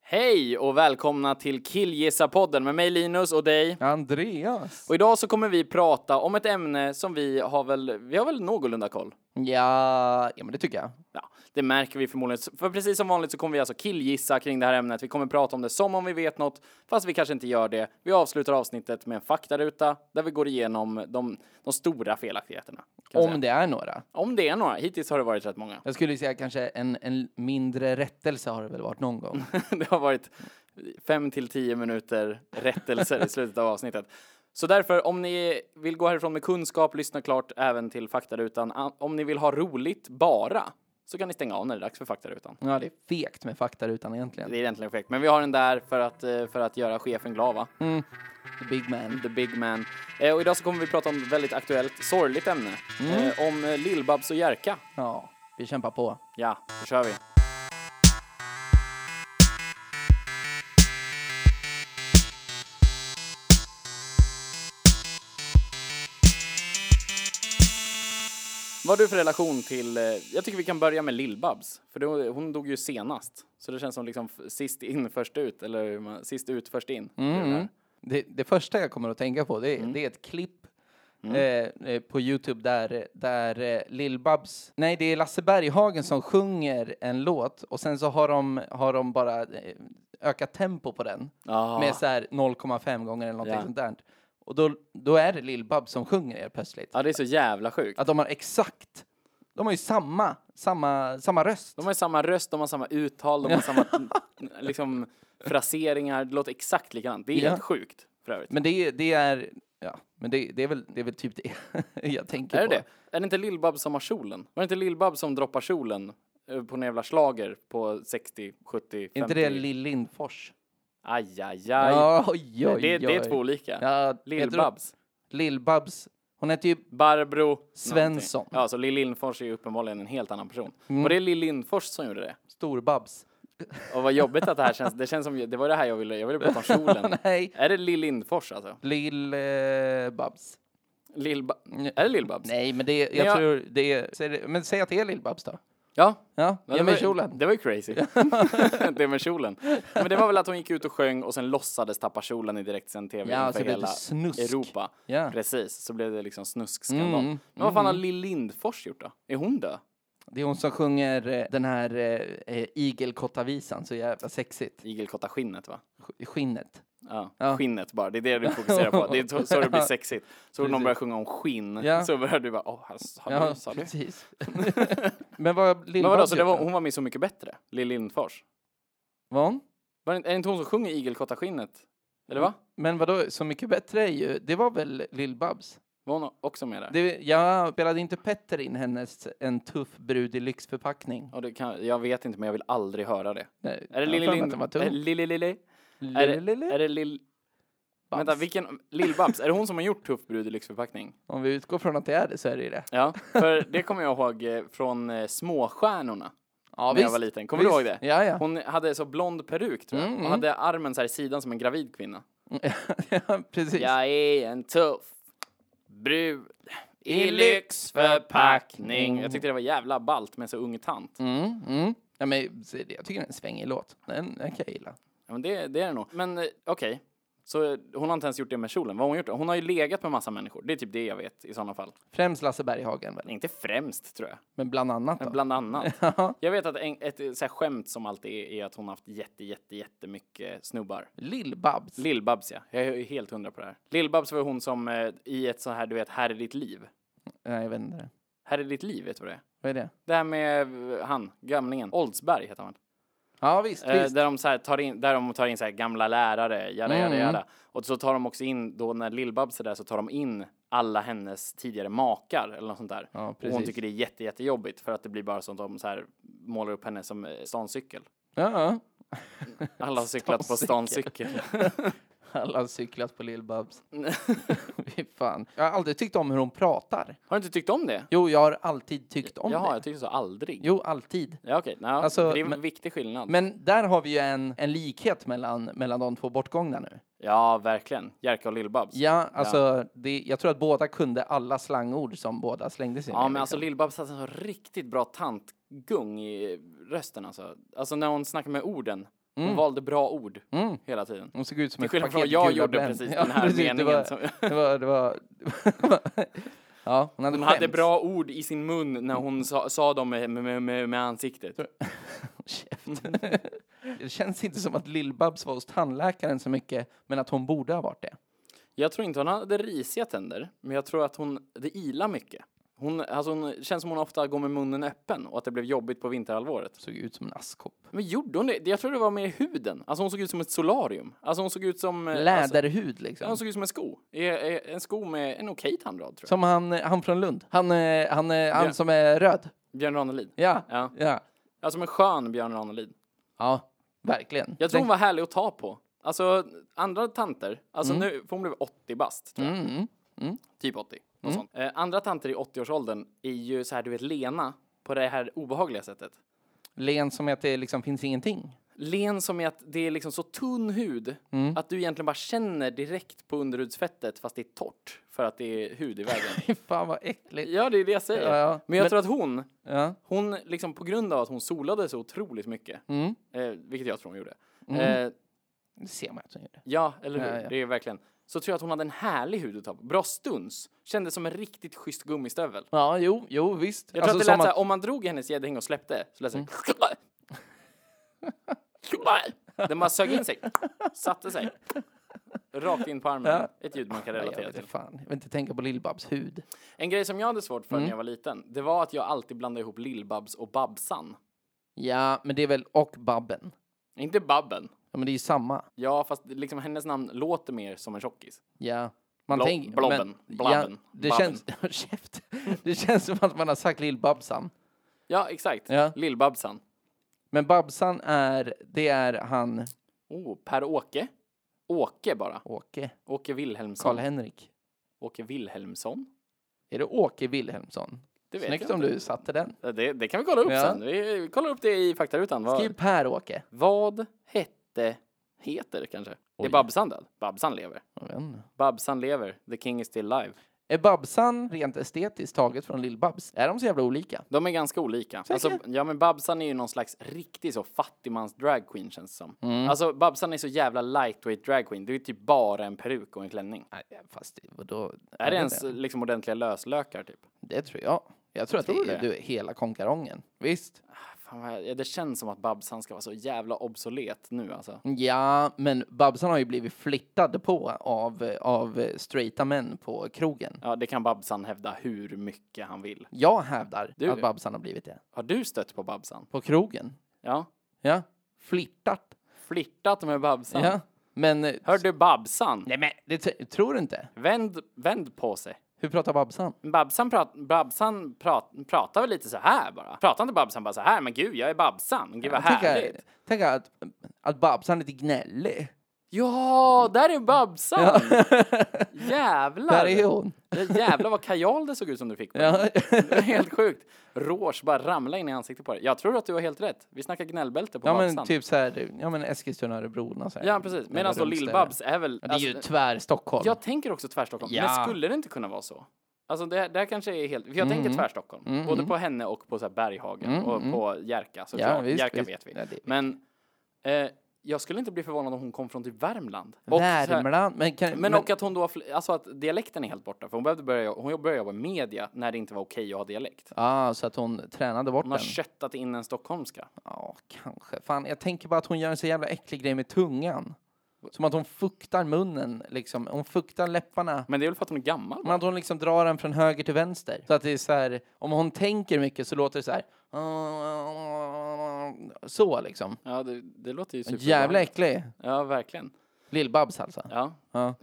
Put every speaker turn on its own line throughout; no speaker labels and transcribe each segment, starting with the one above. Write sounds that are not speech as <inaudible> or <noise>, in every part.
Hej och välkomna till Killgissa-podden med mig Linus och dig.
Andreas?
Och idag så kommer vi prata om ett ämne som vi har väl, vi har väl någorlunda koll.
Ja, ja men det tycker jag.
Ja, det märker vi förmodligen. För precis som vanligt så kommer vi alltså killgissa kring det här ämnet. Vi kommer prata om det som om vi vet något, fast vi kanske inte gör det. Vi avslutar avsnittet med en faktaruta där vi går igenom de, de stora felaktigheterna. kan jag
Om
säga.
det är några.
om det är några. Hittills har det varit rätt många.
Jag skulle säga kanske en, en mindre rättelse har det väl varit någon gång.
det har varit fem till tio minuter rättelser i slutet av avsnittet. Så därför, om ni vill gå härifrån med kunskap, lyssna klart även till faktarutan. A- Om ni vill ha roligt bara, så kan ni stänga av när det är dags för faktarutan.
<laughs> Ja, det är fegt med faktarutan egentligen.
Det är egentligen fegt, men vi har den där för att, eh, för att göra chefen glad, va?
The big man.
The big man. Eh, Och idag så kommer vi prata om ett väldigt aktuellt, sorgligt ämne. Eh, Om eh, Lill-Babs och Jerka.
Ja, vi kämpar på.
Ja, då kör vi. Vad har du för relation till, eh, jag tycker vi kan börja med Lill-Babs, för då, hon dog ju senast. Så det känns som liksom f- sist in först ut, eller hur man, sist ut först in. Det är det där.
Det, det första jag kommer att tänka på det är, det är ett klipp eh, eh, på Youtube där, där eh, Lill-Babs, nej det är Lasse Berghagen som sjunger en låt och sen så har de, har de bara eh, ökat tempo på den
Ja.
med så här 0,5 gånger eller någonting
Ja.
sånt där. Och då, då är det Lill-Babs som sjunger helt plötsligt.
Ja, det är så jävla sjukt.
Att de har exakt, de har ju samma, samma, samma röst.
De har ju samma röst, de har samma uttal, de har samma <laughs> liksom, fraseringar. Det låter exakt likadant. Det är
Ja.
helt sjukt för övrigt.
Men det, det är, ja, men det, det, är väl, det är väl typ det <laughs> jag tänker
är det
på.
det? Är det inte lill som har kjolen? Var det inte lill som droppar kjolen eh, på en jävla schlager på 60, 70, 50?
Är inte det Lill Lindfors?
Aj, aj, aj.
Ja, oj, oj,
det, det är
oj.
två olika.
Ja, heter hon-
Lill-Babs.
Lill-Babs. Hon heter ju...
Barbro
Svensson. Mm.
någonting. Ja, så Lill Lindfors är ju uppenbarligen en helt annan person. Var det Lill Lindfors som gjorde det?
Stor-Babs. <laughs>
Och vad jobbigt att det här känns. Det känns som, det var det här jag ville, jag ville prata om
<laughs>
kjolen.
Nej.
Är det Lill Lindfors alltså?
Lill-Babs.
Lill ba- är det Lill-Babs?
Nej, men det, jag,
jag-
tror det är... säg det- Men säg att det är Lill-Babs då.
Ja.
Ja,
Ja,
ja
var,
men kjolen.
Det var ju
<laughs>
crazy. <laughs> det med kjolen. Men det var väl att hon gick ut och sjöng och sen låtsades tappa kjolen i direktsänd tv
Ja,
inför
så blev det
hela
snusk. Ah. Mm,
Europa.
Ja.
Precis, så blev det liksom snuskskandal. Men vad fan har Lill Lindfors gjort då? Är hon död?
Det är hon som sjunger eh, den här eh, eh, igelkottavisan, så jävla sexigt.
Igelkottaskinnet va?
Sk- Skinnet.
Ja.
Ja.
Skinnet bara, det är det du fokuserar på. Det är så- så det blir sexigt. Så någon börjar sjunga om skinn
Ja.
så börjar du bara, åh, han han
Ja,
sa det.
precis. <laughs> men vad
<laughs> Men vadå,
Lill-Babs
så det var,
var,
hon var med i Så Mycket Bättre? Lill Lindfors?
var hon?
Var det, är det inte hon som sjunger Igelkottaskinnet? Eller va?
Men vadå, Så mycket bättre är ju... Det var väl Lill-Babs?
Var hon också med där?
Det- Jag spelade inte Petter in hennes En tuff brud i lyxförpackning?
Ja, det kan, jag vet inte, men jag vill aldrig höra det.
Nej,
Är det
jag
Lili
har för mig att
Lind...
den var
Är det
tung.
Lili Lili? Är
Lili
det,
Lili?
är det Lill...
Babs.
Vänta, vilken... Lill-Babs? är det hon som har gjort Tuff brud i lyxförpackning?
Om vi utgår från att det är det så är det ju det.
Ja, <laughs> för det kommer jag ihåg eh, från eh, Småstjärnorna.
Ja,
när jag var liten. Kommer du ihåg det?
Ja, Mm, ja.
Hon hade så blond peruk, tror jag. och hade armen så här i sidan som en gravid kvinna.
<laughs> ja precis.
Jag är en tuff brud i
lyxförpackning.
Jag tyckte det var jävla balt med så ung tant.
Mm, mm. Ja, men, se, det- jag tycker det är en svängig låt. Den, den kan jag gilla.
Ja, men det, det är det nog. Men eh, okej. Så eh, hon har inte ens gjort det med kjolen. Vad har hon gjort? då? Hon har ju legat med massa människor. Det är typ det jag vet i sådana fall.
Främst Lasse Berghagen väl?
Inte främst tror jag.
Men bland annat då?
Bland annat.
<laughs>
jag vet att en, ett eh, så här skämt som alltid är, är att hon har haft jätte, jätte, jättemycket snubbar.
Lill-Babs.
Lill-Babs ja. Jag är helt hundra på det här. Lill-Babs var hon som eh, i ett så här, du vet, Här är ditt liv.
Nej, jag vet inte.
Här är ditt liv, vet du vad det är?
Vad är det?
Det här med eh, han, gamlingen. Oldsberg heter han.
Ja, visst,
Eh,
visst.
där de, så här tar in, där de tar in så här gamla lärare, jada,
Mm.
jada, jada. Och så tar de också in, då när Lill-Babs är där, så tar de in alla hennes tidigare makar eller något sånt där.
Ja,
och hon
precis.
tycker det är jätte, jättejobbigt för att det blir bara sånt de så här målar upp henne som eh, stancykel.
Ja, ja.
Alla har cyklat på stancykel.
Alla har cyklat på Lill-Babs. <laughs> Fy fan. Jag har aldrig tyckt om hur hon pratar.
<laughs> Har du inte tyckt om det?
Jo, jag har alltid tyckt om
Jaha,
det.
jag tycker så. Aldrig.
Jo, alltid.
Ja, okej. Nå,
Alltså,
det är en
men-
viktig skillnad.
Men där har vi ju en, en likhet mellan, mellan de två bortgångna nu.
ja, verkligen. Jerka och Lill-Babs.
Ja, alltså, Det, jag tror att båda kunde alla slangord som båda slängde sig
Ja,
med,
men alltså
liksom.
Lill-Babs hade en så riktigt bra tantgung i rösten alltså. Alltså när hon snackar med orden. Hon valde bra ord
Mm.
hela tiden.
Hon såg ut som
Till
ett
skillnad
paket
från vad jag
gula
gjorde
Blend.
precis
<laughs> Ja,
den här
precis, det
meningen.
var-
som,
Det var, det var... <laughs> ja, hon hade
hon hade
skämts.
bra ord i sin mun när hon sa, sa dem med, med, med, med ansiktet.
Käft.
Mm.
<laughs> det känns inte som att Lill-Babs var hos tandläkaren så mycket, men att hon borde ha varit det.
Jag tror inte hon hade risiga tänder, men jag tror att hon, det ilar mycket. Hon, alltså hon känns som hon ofta går med munnen öppen och att det blev jobbigt på vinterhalvåret.
Såg ut som en askkopp.
Men gjorde hon det? Jag tror det var med huden. Alltså hon såg ut som ett solarium. Alltså hon såg ut som... eh, Alltså,
Läderhud liksom.
ja, hon såg ut som en sko. Eh, eh, En sko med en okej tandrad tror jag.
Som han, eh, han från Lund. Han, eh, han, eh, han
Ja.
som är röd.
Björn Ranelid.
Ja.
Ja.
Ja.
Alltså en skön Björn Ranelid.
Ja, verkligen.
Jag tror hon var härlig att ta på. Alltså andra tanter, alltså nu, för hon blev 80 bast tror jag.
Mm, mm.
Typ 80. Något sånt. Eh, andra tanter i 80-årsåldern är ju så här, du vet, lena på det här obehagliga sättet.
Len som att det liksom finns ingenting. <laughs>
Len som är att det är liksom så tunn hud
Mm.
att du egentligen bara känner direkt på underhudsfettet fast det är torrt för att det är hud i vägen.
<laughs> Fy fan vad äckligt.
ja, det är det jag säger.
Ja, ja.
Men jag
Men-
tror att hon,
Ja.
hon liksom på grund av att hon solade så otroligt mycket,
Mm.
eh, vilket jag tror hon gjorde, eh,
Det ser man att hon gjorde.
Ja, eller hur?
Mm. Ja, ja.
Det är verkligen. Så tror jag att hon hade en härlig hud att ta på. Bra stuns. Kändes som en riktigt schysst gummistövel.
Ja, jo, jo, visst. Alltså,
Jag tror att det lät såhär, om man drog hennes gäddhäng och släppte så lät det
Mm.
såhär. <laughs> Den bara sög in sig. Satte sig. Rakt in på armen. Ett ljud man kan
Nej, jag
relatera
vet
till.
inte fan. Jag vill inte tänka på Lill-Babs hud.
En grej som jag hade svårt för
Mm.
när jag var liten, det var att jag alltid blandade ihop Lill-Babs och Babsan.
Ja, men det är väl och Babben.
Inte Babben.
Ja, men det är ju samma.
Ja, fast liksom hennes namn låter mer som en tjockis.
Ja. Man
Blo-
tänker-
blobben, blabben,
det
babben.
känns... <laughs> Käft. Det känns som att man har sagt Lill-Babsan.
Ja, exakt.
Ja.
Lill-Babsan.
Men Babsan är... Det är han...
Oh, Per-Åke. Åke bara.
Åke.
Åke Wilhelmsson.
Karl-Henrik.
Åke Wilhelmsson?
Är det Åke Wilhelmsson?
Det vet
Snyggt
jag
om
inte.
du satte den.
Det, det kan vi kolla upp
Ja.
sen. Vi, vi kollar upp det i faktarutan. Vad,
Skriv Per-Åke.
vad hette, heter kanske? Är Babsan död? Babsan lever.
Jag vet inte.
Babsan lever. The king is still alive.
Är Babsan rent estetiskt taget från Lill-Babs? Är de så jävla olika?
De är ganska olika. Alltså, ja men Babsan är ju någon slags riktig så fattigmans dragqueen känns det som. Alltså Babsan är så jävla lightweight dragqueen. Det är typ bara en peruk och en klänning.
Nej, fast det, då,
Är det ens liksom ordentliga löslökar typ?
Det tror jag. Jag tror att
Tror
det är
du
du, hela konkarongen. Visst?
Ah, Fan, vad, ja, det känns som att Babsan ska vara så jävla obsolet nu alltså.
Ja, men Babsan har ju blivit flittad på av, eh, av eh, straighta män på krogen.
Ja, det kan Babsan hävda hur mycket han vill.
Jag hävdar
Du-
att Babsan har blivit det.
Har du stött på Babsan?
På krogen?
Ja.
Ja. Flirtat?
Flirtat med Babsan?
Ja. Men... eh,
Hör du Babsan?
Nej men, det t- tror du inte?
Vänd, vänd på sig.
Hur pratar Babsan?
Babsan, prat, Babsan prat, pratar väl lite så här bara? Pratar inte Babsan bara så här? Men gud, jag är Babsan. Gud vad härligt.
Tänk, tänk att, att Babsan är lite gnällig.
Ja, där är Babsan! Jävlar!
<laughs> Där är hon.
Ja, Jävlar vad kajal det såg ut som du fick på
Ja.
Det är <laughs> helt sjukt. Rouge bara ramlade in i ansiktet på dig. Jag tror att du har helt rätt. Vi snackar gnällbälte på
<laughs> Ja
Babsan.
men typ såhär, ja men Eskilstuna, Örebro och så här.
Ja, precis. Medan då
Eller
Lill-Babs är väl... alltså,
Ja, Det är ju tvär Stockholm.
Jag tänker också tvärstockholm, men
Ja.
skulle det inte kunna vara så? Alltså det, det här kanske är helt, för jag
Mm.
tänker tvärstockholm, både på henne och på så här Berghagen och på Jerka såklart.
Ja, visst,
Jerka
visst.
vet vi.
Ja, det-
men eh, jag skulle inte bli förvånad om hon kom från typ Värmland. Och så här-
Värmland. Men, kan,
Men, och att hon då, har fl- alltså att dialekten är helt borta, för hon behövde börja, hon började jobba med media när det inte var okej att ha dialekt.
Ah, så att hon tränade bort
Hon
den?
har köttat in en stockholmska.
Ja, kanske. Fan, jag tänker bara att hon gör en så jävla äcklig grej med tungan. Som att hon fuktar munnen, liksom. Hon fuktar läpparna.
Men det är väl för att hon är gammal?
Men att hon liksom drar den från höger till vänster. Så att det är så här, om hon tänker mycket så låter det så här. Så liksom.
Ja, det, det låter ju superbra.
Jävla äcklig.
Ja, verkligen.
Lill-Babs alltså.
Ja. <laughs>
Ja.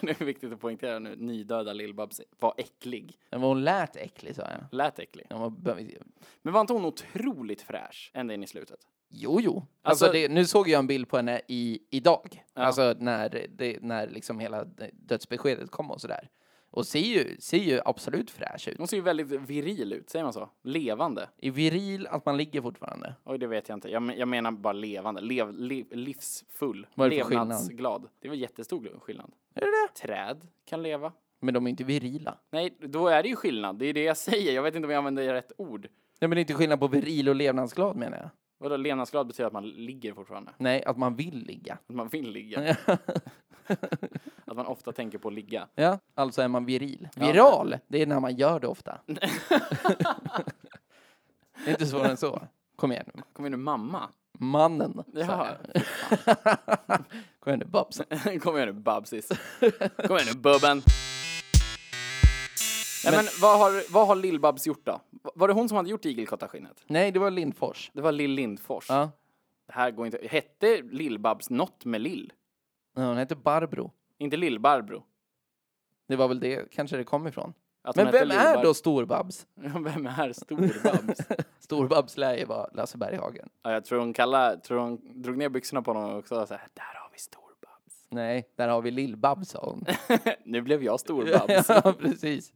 det är viktigt att poängtera nu, nydöda Lill-Babs var äcklig.
Men hon lät äcklig sa jag.
Lät äcklig.
Hon var bö-
Men var inte hon otroligt fräsch ända in i slutet?
Jo, jo.
Alltså-
Alltså, det, nu såg jag en bild på henne i, idag, alltså när, det, när liksom hela dödsbeskedet kom och sådär. Och ser ju, ser ju absolut fräsch ut.
Hon ser ju väldigt viril ut, säger man så? Levande?
Är viril att man ligger fortfarande.
Oj, det vet jag inte. Jag, men- jag menar bara levande. Lev, le, livsfull.
Vad är det för skillnad?
Levnadsglad. Det var jättestor skillnad.
Är det det?
Träd kan leva.
Men de är inte virila.
Nej, då är det ju skillnad. Det är det jag säger. Jag vet inte om jag använder rätt ord.
Nej, men det är inte skillnad på viril och levnadsglad menar jag.
Vadå levnadsglad betyder att man ligger fortfarande?
Nej, att man vill ligga. <laughs>
Att man vill ligga? Att man ofta tänker på att ligga?
Ja, alltså är man viril. Viral, det är när man gör det
<laughs>
ofta. det är inte svårare än så. Kom igen nu.
Kommer nu mamma?
Mannen. sa
Jaha.
jag. <laughs> Kom igen nu, Babs.
<laughs> Kom igen nu Babsis. Kom igen nu Bubben. Nej men vad har, vad har Lill-Babs gjort då? Var det hon som hade gjort igelkottaskinnet?
Nej, det var Lindfors.
Det var Lill Lindfors.
Ja.
Det här går inte. Hette Lill-Babs något med Lill?
Ja, Hon hette Barbro.
Inte Lill-Barbro?
Det var väl det kanske det kom ifrån.
Att hon
Men
hette
vem är
Lill-Bar- <laughs>
då Storbabs?
vem är Stor-Babs?
Storbabs lär ju vara Lasse Berghagen.
ja, jag tror hon kallade, tror hon drog ner byxorna på honom också och sa där har vi Stor-Babs. <laughs>
Nej, där har vi Lill-Babs sa <laughs> hon.
nu blev jag Stor-Babs.
<laughs> ja, precis.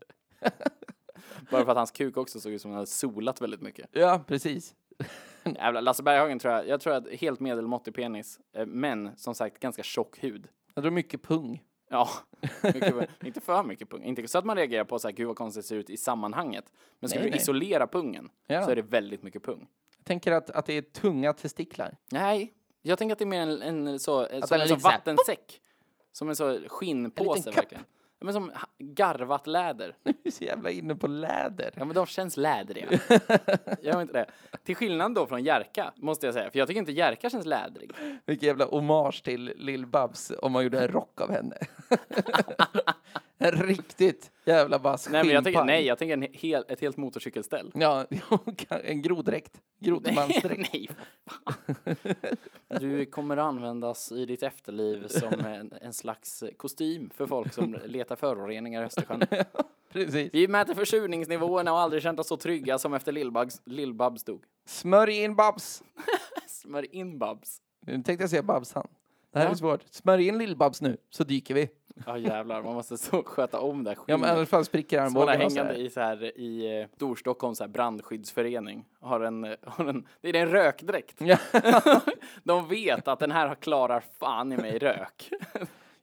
Bara för att hans kuk också såg ut som om han hade solat väldigt mycket.
Ja, precis.
Jävlar, Lasse Berghagen tror jag, jag tror att helt medelmåttig penis, eh, men som sagt ganska tjock hud.
Jag tror mycket pung.
Ja, <laughs> mycket, pung. inte för mycket pung. Inte så att man reagerar på så här, gud vad konstigt det ser ut i sammanhanget. Men ska
Nej,
du
nej.
isolera pungen
Ja.
så är det väldigt mycket pung.
Jag tänker att, att det är tunga testiklar. <laughs>
Nej, jag tänker att det är mer en, en så, en, som
den
en så
ligger så här,
vattensäck. Som en så skinnpåse
kapp.
verkligen. Ja, men som ha- garvat läder.
Nu är vi så jävla inne på läder.
Ja men de känns
<laughs>
lädriga. Gör de inte det? Till skillnad då från Jerka, måste jag säga. För jag tycker inte Jerka känns lädrig.
Vilken jävla hommage till Lill-Babs om man gjorde en rock av henne. <laughs> en riktigt jävla vass
Nej, men jag tänker,
skinnpaj.
nej, jag tänker en hel, ett helt motorcykelställ.
Ja, <laughs> en grodräkt. Grodmansdräkt.
<laughs> nej, för fan. Du kommer användas i ditt efterliv som en, en slags kostym för folk <laughs> som letar föroreningar i Östersjön.
Precis.
Vi mäter försurningsnivåerna och har aldrig känt oss så trygga som efter Lill-Babs- Lill-Babs dog.
Smörj in Babs.
Smör in Babs.
Nu tänkte jag säga Babsan. Det här
Ja.
är svårt. Smörj in Lill-Babs nu, så dyker vi.
Ja jävlar, man måste så sköta om det här
Ja, men
skinnet.
annars fall spricker
Sådana
armbågarna. och så
hängande i,
här.
Mm. så här, i eh, Storstockholms så här, brandskyddsförening. Har en, eh, har en, det är en rökdräkt.
<laughs> Ja.
<laughs> De vet att den här har- klarar fan i mig rök.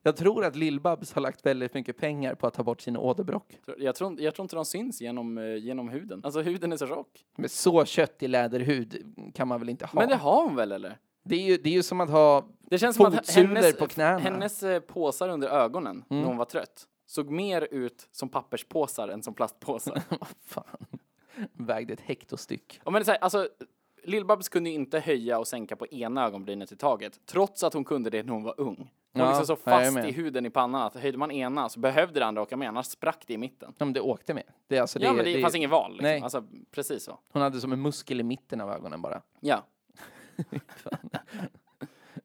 Jag tror att Lill-Babs har lagt väldigt mycket pengar på att ta bort sina åderbråck.
Jag tror, jag tror inte de syns genom, eh, genom huden. Alltså huden är så tjock.
Men så köttig läderhud kan man väl inte ha?
Men det har hon väl eller?
Det är ju, det är ju som att ha... <laughs>
Det känns
Fotsulor på knäna. Mm.
hennes eh, påsar under ögonen när hon var trött såg mer ut som papperspåsar än som
<laughs>
plastpåsar.
Fan. Vägde ett hektostyck.
Ja, men det är så här, alltså, Lill-Babs kunde ju inte höja och sänka på ena ögonbrynet i taget, trots att hon kunde det när hon var ung. Hon
Ja,
liksom så
ja, jag är
fast
med.
i huden i pannan att höjde man ena så behövde det andra åka med, annars sprack det i mitten.
Ja, men det åkte med. Det, är alltså, det,
ja, men det,
det,
fanns inget val. Liksom.
Nej.
Alltså, precis så.
Hon hade som en muskel i mitten av ögonen bara.
Ja.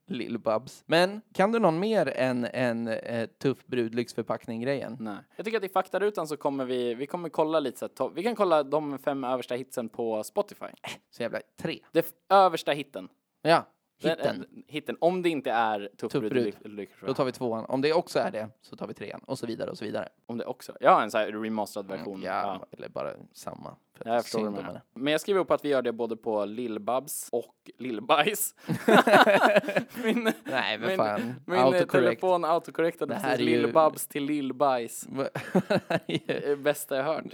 Lill-Babs. Men kan du någon mer än en eh, tuff brudlyxförpackning-grejen?
Nej. Jag tycker att i faktarutan så kommer vi, vi kommer kolla lite så här, to- vi kan kolla de fem översta hitsen på Spotify.
Så jävla tre.
Det f- översta hitten.
Ja,
Den-
hitten.
eh, hitten. Om det inte är Tuff
Tuff
Brud
Brud.
Lyck- Lyck-
Då tar vi tvåan. Om det också är det så tar vi trean och så vidare och så vidare.
Om det också. Ja, en så här remasterad version. Mm, Ja.
Mm, Ja, eller bara samma. För att
Ja, jag förstår vad
synd
du
om
menar.
henne.
Men jag skriver upp att vi gör det både på Lill-Babs och Lill-Bajs.
<laughs>
min
Nej, men
min,
fan.
min eh,
Autocorrect. <laughs>
telefon autocorrectade
Det här
precis
är ju-
Lill-Babs till Lill-Bajs. Det är det bästa jag hört.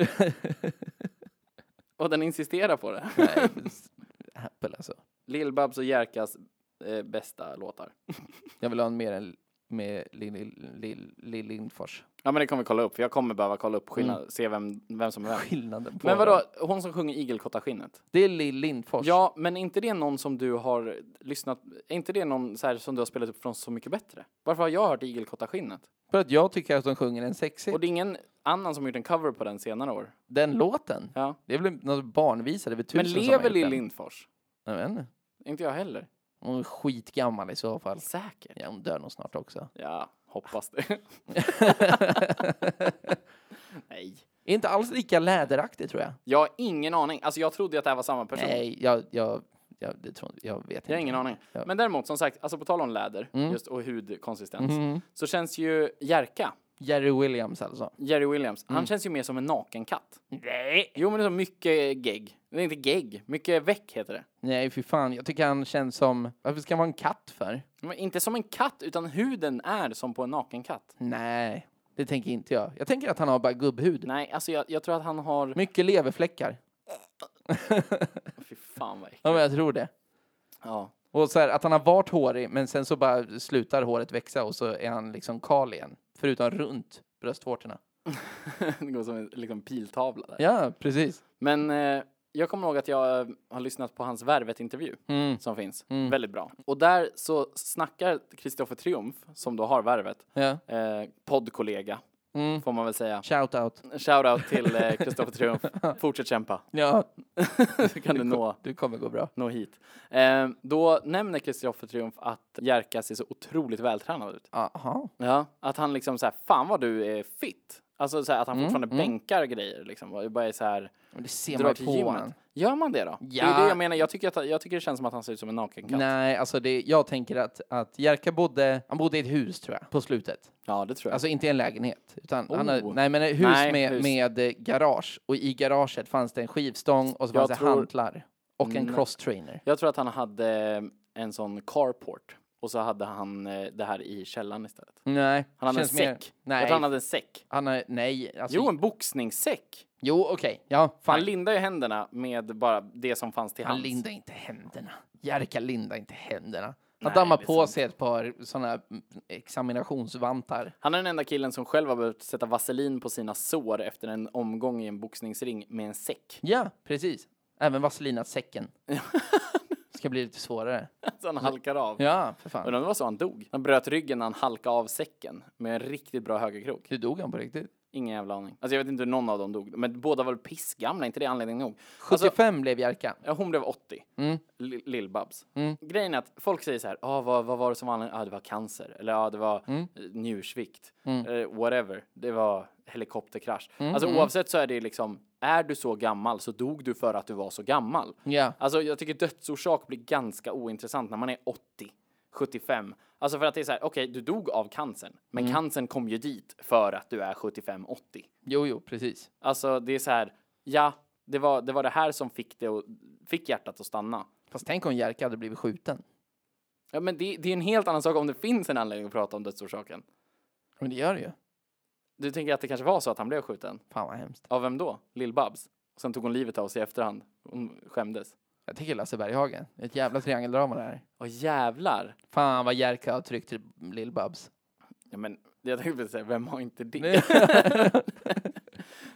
<laughs>
och den insisterar på det.
Nej, Apple alltså.
Lill-Babs och Jerkas eh, bästa låtar.
Jag vill ha en mer än med Lill Lill- Lill- Lill Lindfors.
Ja men det kommer vi kolla upp, för jag kommer behöva kolla upp skillnad, se vem, vem som är vem.
Skillnaden på
Mm. <laughs> Men
dem.
vadå, hon som sjunger Igelkottaskinnet?
Det är Lill Lindfors.
Ja, men är inte det någon som du har lyssnat, är inte det någon så här som du har spelat upp från Så mycket bättre? Varför har jag hört Igelkottaskinnet?
För att jag tycker att de sjunger en sexig.
Och det är ingen annan som har gjort en cover på den senare år?
Den låten.
Ja.
Det är väl någon barnvisa. Det är väl tusen
Men
som har
lever
gjort
Lill
den.
Lindfors?
Jag vet inte.
Inte jag heller.
Hon är skitgammal i så fall.
Säkert?
Ja, hon dör nog snart också.
Ja, hoppas det. <laughs> Nej.
Inte alls lika läderaktig tror jag.
Jag har ingen aning. Alltså jag trodde ju att det här var samma person.
Nej, jag, jag, jag, det tror, jag vet inte.
Jag har ingen aning.
Ja. Mm.
Men däremot, som sagt, alltså på tal om läder just, och hudkonsistens så känns ju Jerka,
Jerry Williams alltså.
Jerry Williams, han känns ju mer som en naken katt.
Nej.
Jo, men det är så mycket gegg. Det är inte gegg, mycket väck heter det.
Nej, fy fan. Jag tycker han känns som... Varför ska man vara en katt för?
Men inte som en katt, utan huden är som på en naken katt.
Nej, det tänker inte jag. Jag tänker att han har bara gubbhud.
Nej, alltså jag, jag tror att han har...
Mycket leverfläckar.
Fy fan vad äckligt.
Ja, men jag tror det.
Ja.
Och så här, att han har varit hårig, men sen så bara slutar håret växa och så är han liksom kal igen. Förutom runt bröstvårtorna.
<laughs> det går som en liksom, piltavla där.
Ja, precis.
Men eh, jag kommer ihåg att jag eh, har lyssnat på hans Värvet-intervju
Mm.
som finns.
Mm.
Väldigt bra. Och där så snackar Kristoffer Triumf, som då har Värvet,
Ja.
eh, poddkollega,
Mm.
får man väl säga.
Shout out.
Shoutout till eh, Kristoffer
<laughs>
Triumf. Fortsätt kämpa,
Ja,
så kan du nå,
du kommer gå bra.
nå hit. Eh, då nämner Kristoffer Triumf att Jerka ser så otroligt vältränad ut.
Aha.
Ja, att han liksom så här, fan vad du är fit. Alltså så här, att han fortfarande bänkar grejer liksom. Och bara är så här,
Men det ser
drar
Mm, man
till
ju på honom.
gymmet. Gör man det då? Det är
Ja.
det jag menar, jag tycker, att, jag tycker det känns som att han ser ut som en naken katt.
Nej, alltså det, jag tänker att, att Jerka bodde, han bodde i ett hus tror jag, på slutet.
Ja, det tror jag.
Alltså inte i en lägenhet. Utan han hade,
Oh.
nej, men ett hus,
Nej,
med,
hus.
med eh, garage. Och i garaget fanns det en skivstång och så
Jag
fanns det
tror- Mm.
hantlar. Och en
Nej.
cross trainer.
Jag tror att han hade eh, en sån carport och så hade han eh, det här i källaren istället.
Nej,
Han hade
känns
en
mer-
säck. Jag
Nej,
tror han hade en säck.
han har, nej. Alltså,
Jo, en boxningssäck.
Jo, okej. Ja,
Han
fine.
lindade ju händerna med bara det som fanns till
Han
hands.
lindar inte händerna. Jerka lindar inte händerna. Han
Nej,
dammar
det är
på
sant.
sig ett par sådana examinationsvantar.
Han är den enda killen som själv har behövt sätta vaselin på sina sår efter en omgång i en boxningsring med en säck. <laughs>
Ja, precis. Även vaselinat-säcken. Ska bli lite svårare.
Så han halkar av.
Ja, för fan.
Undrar om det var så han dog. Han bröt ryggen när han halkade av säcken med en riktigt bra högerkrok.
Hur dog han på riktigt?
Ingen jävla aning. Alltså jag vet inte hur någon av dem dog. Men båda var väl pissgamla, inte det anledning nog? Alltså,
75 blev Jerka.
ja, hon blev 80.
Mm.
Li- Lill-Babs.
Mm.
Grejen är att folk säger så här, ah, vad, vad var det som var anledningen? Ah, det var cancer. Eller ja, ah, det var mm. njursvikt.
Mm.
Eh, whatever. Det var helikopterkrasch. Alltså oavsett så är det liksom, är du så gammal så dog du för att du var så gammal.
Ja.
Alltså jag tycker dödsorsak blir ganska ointressant när man är 80, 75. Alltså för att det är så här, okej du dog av cancern, men
Mm.
cancern kom ju dit för att du är 75, 80.
Jo, jo, precis.
Alltså det är så här, ja, det var det, var det här som fick, det och, fick hjärtat att stanna.
Fast tänk om Jerka hade blivit skjuten.
Ja men det, det är en helt annan sak om det finns en anledning att prata om dödsorsaken.
Men det gör det ju.
Du tänker att det kanske var så att han blev skjuten?
Fan vad hemskt.
Av vem då? Lill-Babs? Och Sen tog hon livet av sig i efterhand. Hon skämdes.
Jag tänker Lasse Berghagen. Ett jävla triangeldrama det här.
Åh jävlar!
Fan vad Jerka har tryckt till Lill-Babs.
Ja, men jag tänkte precis säga, vem har inte
<laughs>
det?
Nej.
<laughs>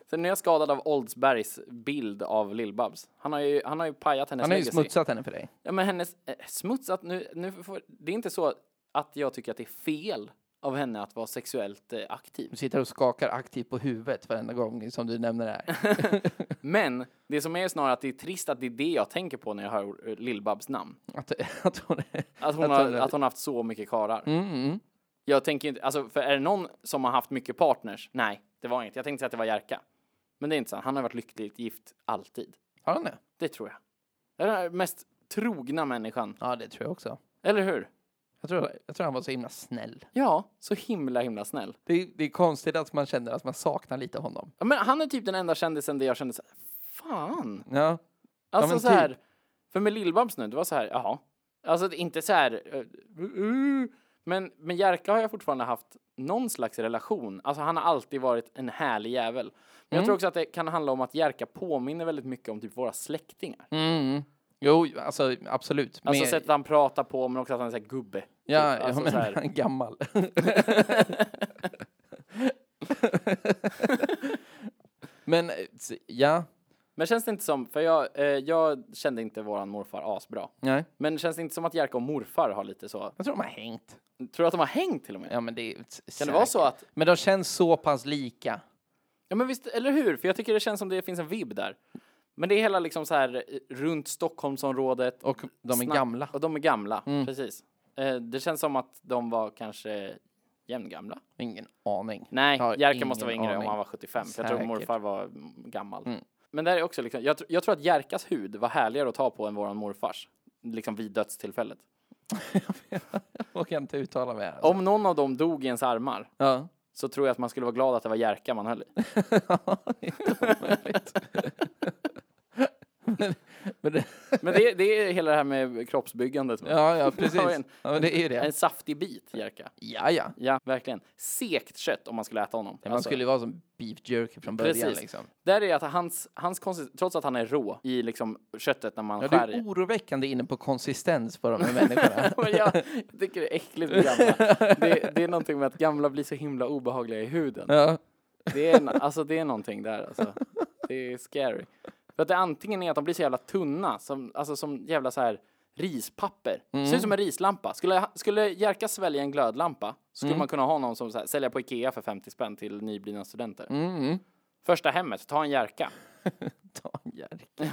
Sen är jag skadad av Oldsbergs bild av Lill-Babs. Han, har ju- han har ju pajat hennes
Han har ju
legacy.
smutsat henne för dig.
Ja, men hennes eh, smutsat nu, nu får, det är inte så att jag tycker att det är fel av henne att vara sexuellt eh,
<laughs>
aktiv.
Du sitter och skakar aktivt på huvudet varenda gång som du nämner det <laughs> här.
Men det som är snarare att det är trist att det är det jag tänker på när jag hör eh, Lill-Babs namn.
Att, att hon är...
Att hon,
Att
har,
hon-
att hon har haft så mycket karlar.
Mm, mm.
Jag tänker inte, alltså för är det någon som har haft mycket partners? Nej, det var inget. Jag tänkte säga att det var Jerka. Men det är inte sant. Han har varit lyckligt gift alltid.
Har han det?
Det tror jag. Det är den här mest trogna människan.
Ja, det tror jag också.
Eller hur?
Jag tror, jag tror han var så himla snäll.
Ja, så himla himla snäll.
Det är, det är konstigt att man känner att man saknar lite honom.
Ja, Men han är typ den enda kändisen där jag kände så här, fan.
Ja.
Alltså
men
så här, för med Lill-Babs nu, det var så här, jaha. Alltså det är inte så här, eh, uh, uh. men med Jerka har jag fortfarande haft någon slags relation. Alltså han har alltid varit en härlig jävel. Men jag tror också att det kan handla om att Jerka påminner väldigt mycket om typ våra släktingar.
Mm. Jo, alltså absolut.
Alltså
Med-
sättet han pratar på, men också att han är så här gubbe. typ.
ja,
alltså,
ja, men
så här,
han är <laughs>
<laughs>
gammal. men, eh, s- ja,
Men känns det inte som, för jag, eh, jag kände inte våran morfar asbra.
nej.
Men känns det inte som att Jerka och morfar har lite så,
Jag tror de har hängt.
tror du att de har hängt till och med?
Ja, men det är
Kan det vara så att
Men de känns så pass lika.
Ja men visst, eller hur? För jag tycker det känns som det finns en vibb där. Men det är hela liksom så här eh, runt Stockholmsområdet.
Och de är
Snack-
gamla. Mm.
Och de är gamla, precis. Eh, det känns som att de var kanske jämngamla.
Ingen aning.
Nej,
Har
Jerka måste vara
ingen
yngre om
aning.
han var 75. För jag tror
Säkert.
morfar var mm, gammal. Men där är också liksom, jag, tr- jag tror att Jerkas hud var härligare att ta på än våran morfars. Liksom vid dödstillfället.
Jag kan inte uttala mig. Här.
Om någon av dem dog i ens armar
Ja. <laughs>
så tror jag att man skulle vara glad att det var Jerka man höll i.
Ja, det är inte omöjligt. men, Men det,
Men det, det är hela det här med kroppsbyggandet. va?
<laughs>
<laughs>
ja, ja, precis.
Ja, Alltså- en-
Ja, men det är ju det.
En saftig bit, Jerka.
Ja, ja.
Ja, verkligen. Sekt kött om man skulle äta honom.
Man skulle ju vara som beef jerky från början
Alltså- Precis.
liksom.
Där är att hans, hans konsist- trots att han är rå i liksom köttet när man
Ja, du
skär
är
i.
oroväckande inne på konsistens på de här människorna.
<laughs> Men jag tycker det är äckligt med gamla. Det, det är någonting med att gamla blir så himla obehagliga i huden.
ja.
Det är, en- alltså, det är någonting där alltså. Det är scary. För att det antingen är att de blir så jävla tunna, som, alltså som jävla så här rispapper.
Mm.
Ser ut som en rislampa. Skulle, skulle Jerka svälja en glödlampa skulle
Mm.
man kunna ha någon som så här, sälja på Ikea för 50 spänn till nyblivna studenter.
Mm.
Första hemmet, ta en Jerka.
Ta en jerk.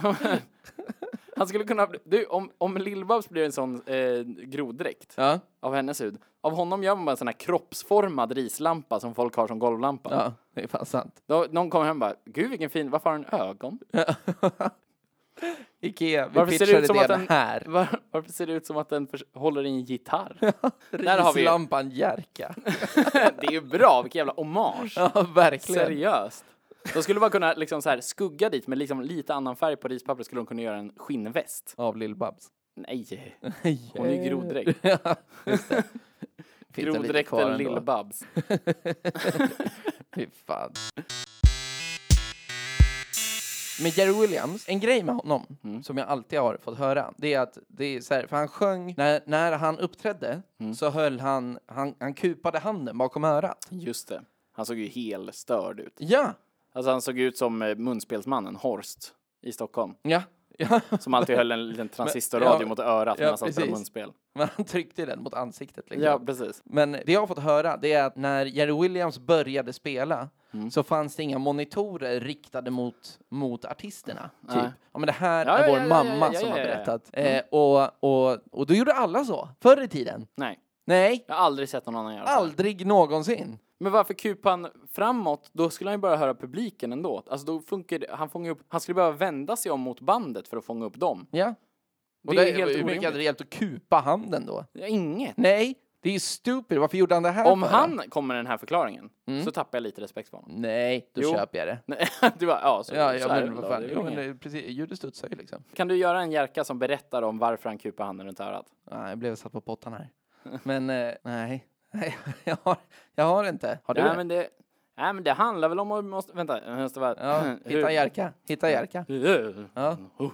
Han skulle kunna, bli- du om, om Lill-Babs blir en sån eh, groddräkt
Ja.
av hennes hud, av honom gör man bara en sån här kroppsformad rislampa som folk har som golvlampa.
ja, det är fan sant.
Då, någon kommer hem och bara, gud vilken fin, varför har den ögon?
Ikea, vi
Varför ser det
pitchade
ut som
det
att den-
här.
Var, varför ser det ut som att den förs- håller i en
<laughs>
gitarr? Där har vi-
Rislampan Jerka.
<laughs> det är ju bra, vilken jävla hommage.
<laughs> ja, verkligen.
Seriöst. De skulle bara kunna liksom så här skugga dit med liksom lite annan färg på rispappret skulle de kunna göra en skinnväst.
Av Lill-Babs.
Nej, hon är ju
<laughs>
groddräkt.
Ja, just <laughs> det. Finns det lite kvar
Groddräkten
ändå?
Lill-Babs.
Fy fan. Med Jerry Williams, en grej med honom som jag alltid har fått höra, det är att det är så här, för han sjöng, när, när han uppträdde så höll han, han, han kupade handen bakom örat.
Just det. Han såg ju helt störd ut.
Ja,
Alltså han såg ut som eh, munspelsmannen Horst i Stockholm.
ja, ja.
Som alltid höll en
<laughs>
liten transistorradio
ja,
mot örat
ja,
när han satt och spelade
precis.
munspel.
Men han tryckte den mot ansiktet liksom.
Ja, precis.
Men det jag har fått höra det är att när Jerry Williams började spela
Mm.
så fanns det inga monitorer riktade mot, mot artisterna. Typ.
Nej.
Ja, men det här
Ja,
är
ja,
vår
ja, ja,
mamma
ja, ja,
som har
ja, Mm. ja.
berättat. Eh, och, och, och då gjorde alla så, förr i tiden.
Nej,
Nej,
jag har aldrig sett någon annan göra så. här.
aldrig någonsin.
Men varför kupar han framåt? Då skulle han ju bara höra publiken ändå. Alltså då funkar det- han fångar upp, han skulle behöva vända sig om mot bandet för att fånga upp dem.
Ja. Och
Det
det
är helt
hur mycket
orimligt.
hade det hjälpt att kupa handen då?
Ja, inget.
Nej, det är ju stupid. Varför gjorde han det Mm. här
Om
för?
han kommer med den här förklaringen så tappar jag lite respekt för honom. <laughs>
Nej, då
Jo.
köper jag det.
Nej, du bara, ja, så,
Ja,
så
ja
är det
men
väl
vad
då.
fan.
Det är väl
Jo, men
inget.
det, precis, ljudet studsar ju liksom.
Kan du göra en jerka som berättar om varför han kupar handen runt örat?
Nej, jag blev satt på
<laughs>
pottan här. Men eh, nej, nej <laughs> jag, har, jag har inte. Har du
Nej
det?
men det, nej men det handlar väl om att vi måste, vänta, jag måste bara... <laughs>
Ja, hitta Jerka. Hitta Jerka.
Jerry.
Ja.
Oh,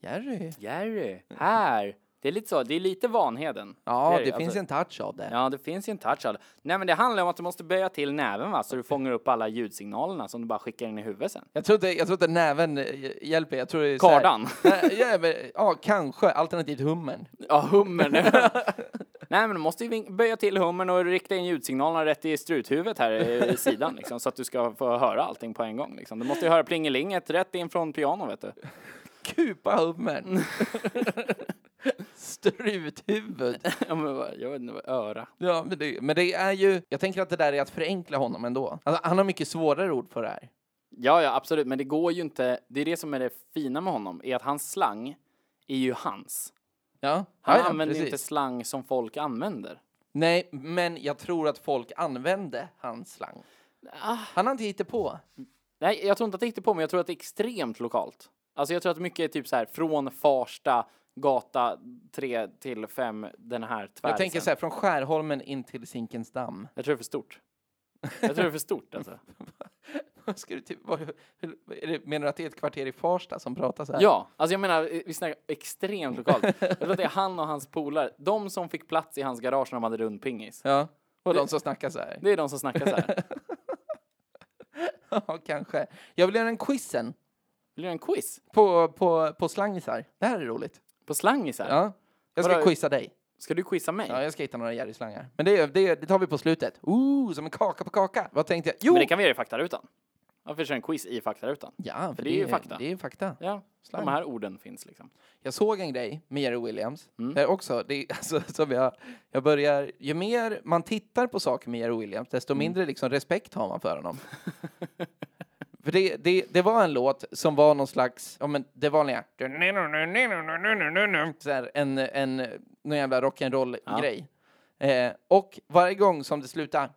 Jerry.
Jerry, här. Det är lite så, det är lite Vanheden.
Ja,
är
det, finns
alltså.
en touch av det.
Ja, det finns ju en touch av det. Nej men det handlar om att du måste böja till näven va, så du fångar upp alla ljudsignalerna som du bara skickar in i huvudet sen.
Jag tror inte, jag tror inte näven eh, hjälper. Jag tror det är så här-
Kardan.
<laughs> Nej, ja, men, ja, kanske. Alternativt hummen.
<laughs> Ja, hummern. <laughs> Nej men du måste ju vin- böja till hummern och rikta in ljudsignalerna rätt i struthuvudet här i i sidan liksom, så att du ska få höra allting på en gång liksom. Du måste ju höra plingelinget rätt in från pianon vet du.
Kupa hummen. Struthuvud.
<laughs> Ja, men vad- jag vet inte, vad- öra.
Ja, men det, men det är ju... Jag tänker att det där är att förenkla honom ändå. Alltså, han har mycket svårare ord för det här.
Ja, ja, absolut. Men det går ju inte. Det är det som är det fina med honom, är att hans slang är ju hans.
Ja,
Han
ja, ja,
använder ju
precis.
inte slang som folk använder.
Nej, men jag tror att folk använde hans slang.
Ah,
Han har inte hittat på.
Nej, jag tror inte att det hittar på, men jag tror att det är extremt lokalt. Alltså jag tror att mycket är typ så här från Farsta, gata 3 till 5, den här tvärsen.
Jag tänker så här, från Skärholmen in till Zinkensdamm.
Jag tror det är för stort. Jag tror det är för stort alltså.
<laughs> Ska du typ, vad, hur, är det, menar du att det är ett kvarter i Farsta som pratar så här?
Ja, alltså jag menar, vi snackar extremt lokalt. Jag tror att det är han och hans polare, de som fick plats i hans garage när de hade rund pingis.
ja. Och de som snackar så här.
Det är de som snackar så
<laughs>
här.
Ja, kanske. Jag vill göra en quiz sen.
Vill du göra en quiz?
På, på, på slangisar. Det här är roligt.
På slangisar?
Ja. Jag ska
Vadå?
quizza dig.
Ska du quizza mig?
Ja, jag ska hitta några Jerry-slangar. Men det, det, det tar vi på slutet. Ooh, som en kaka på kaka. Vad tänkte jag? Jo!
Men det kan vi göra i faktarutan. Varför kör en quiz i faktarutan?
Ja, för
det är ju fakta.
Det är ju fakta.
Ja,
Slang.
de här orden finns liksom.
Jag såg en grej med Jerry Williams.
Mm.
Där också, det är, <laughs> alltså, som jag, jag börjar, ju mer man tittar på saker med Jerry Williams, desto
Mm.
mindre liksom, respekt har man
<laughs>
för honom. för det, det, det var en låt som var någon slags, ja men det vanliga, så här, en, en, någon jävla rock'n'roll-grej. Eh, och varje gång som det slutade,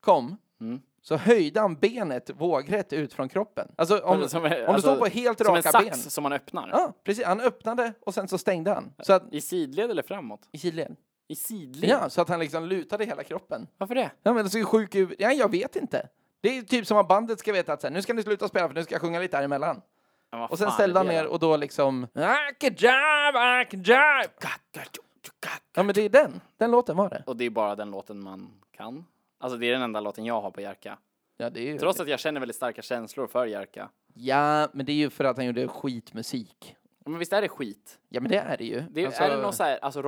kom,
Mm.
så höjde han benet vågrätt ut från kroppen. Alltså om,
Som-
om du
alltså,
står på helt
Som en
raka ben.
sax som man öppnar.
Ja, precis. Han öppnade och sen så stängde han. Så att,
I sidled eller framåt?
I Chile.
I sidled?
Ja, så att han liksom lutade hela kroppen.
Varför det?
Ja, men det ser ju sjuk ut. Ja, jag vet inte. Det är ju typ som att bandet ska veta att så här, nu ska ni sluta spela för nu ska jag sjunga lite här emellan.
Men vad
Och sen
fan
ställde
är
han
det
ner
då?
och då liksom... I can drive, I can drive. Ja, men det är den. Den låten var det.
Och det är bara den låten man kan. Alltså det är den enda låten jag har på Jerka.
Ja, det är ju...
Trots att jag känner väldigt starka känslor för Jerka.
Ja, men det är ju för att han gjorde skitmusik.
Ja, Men visst är det skit?
Ja, men det är det ju.
Det,
Alltså,
Är det någon så här, alltså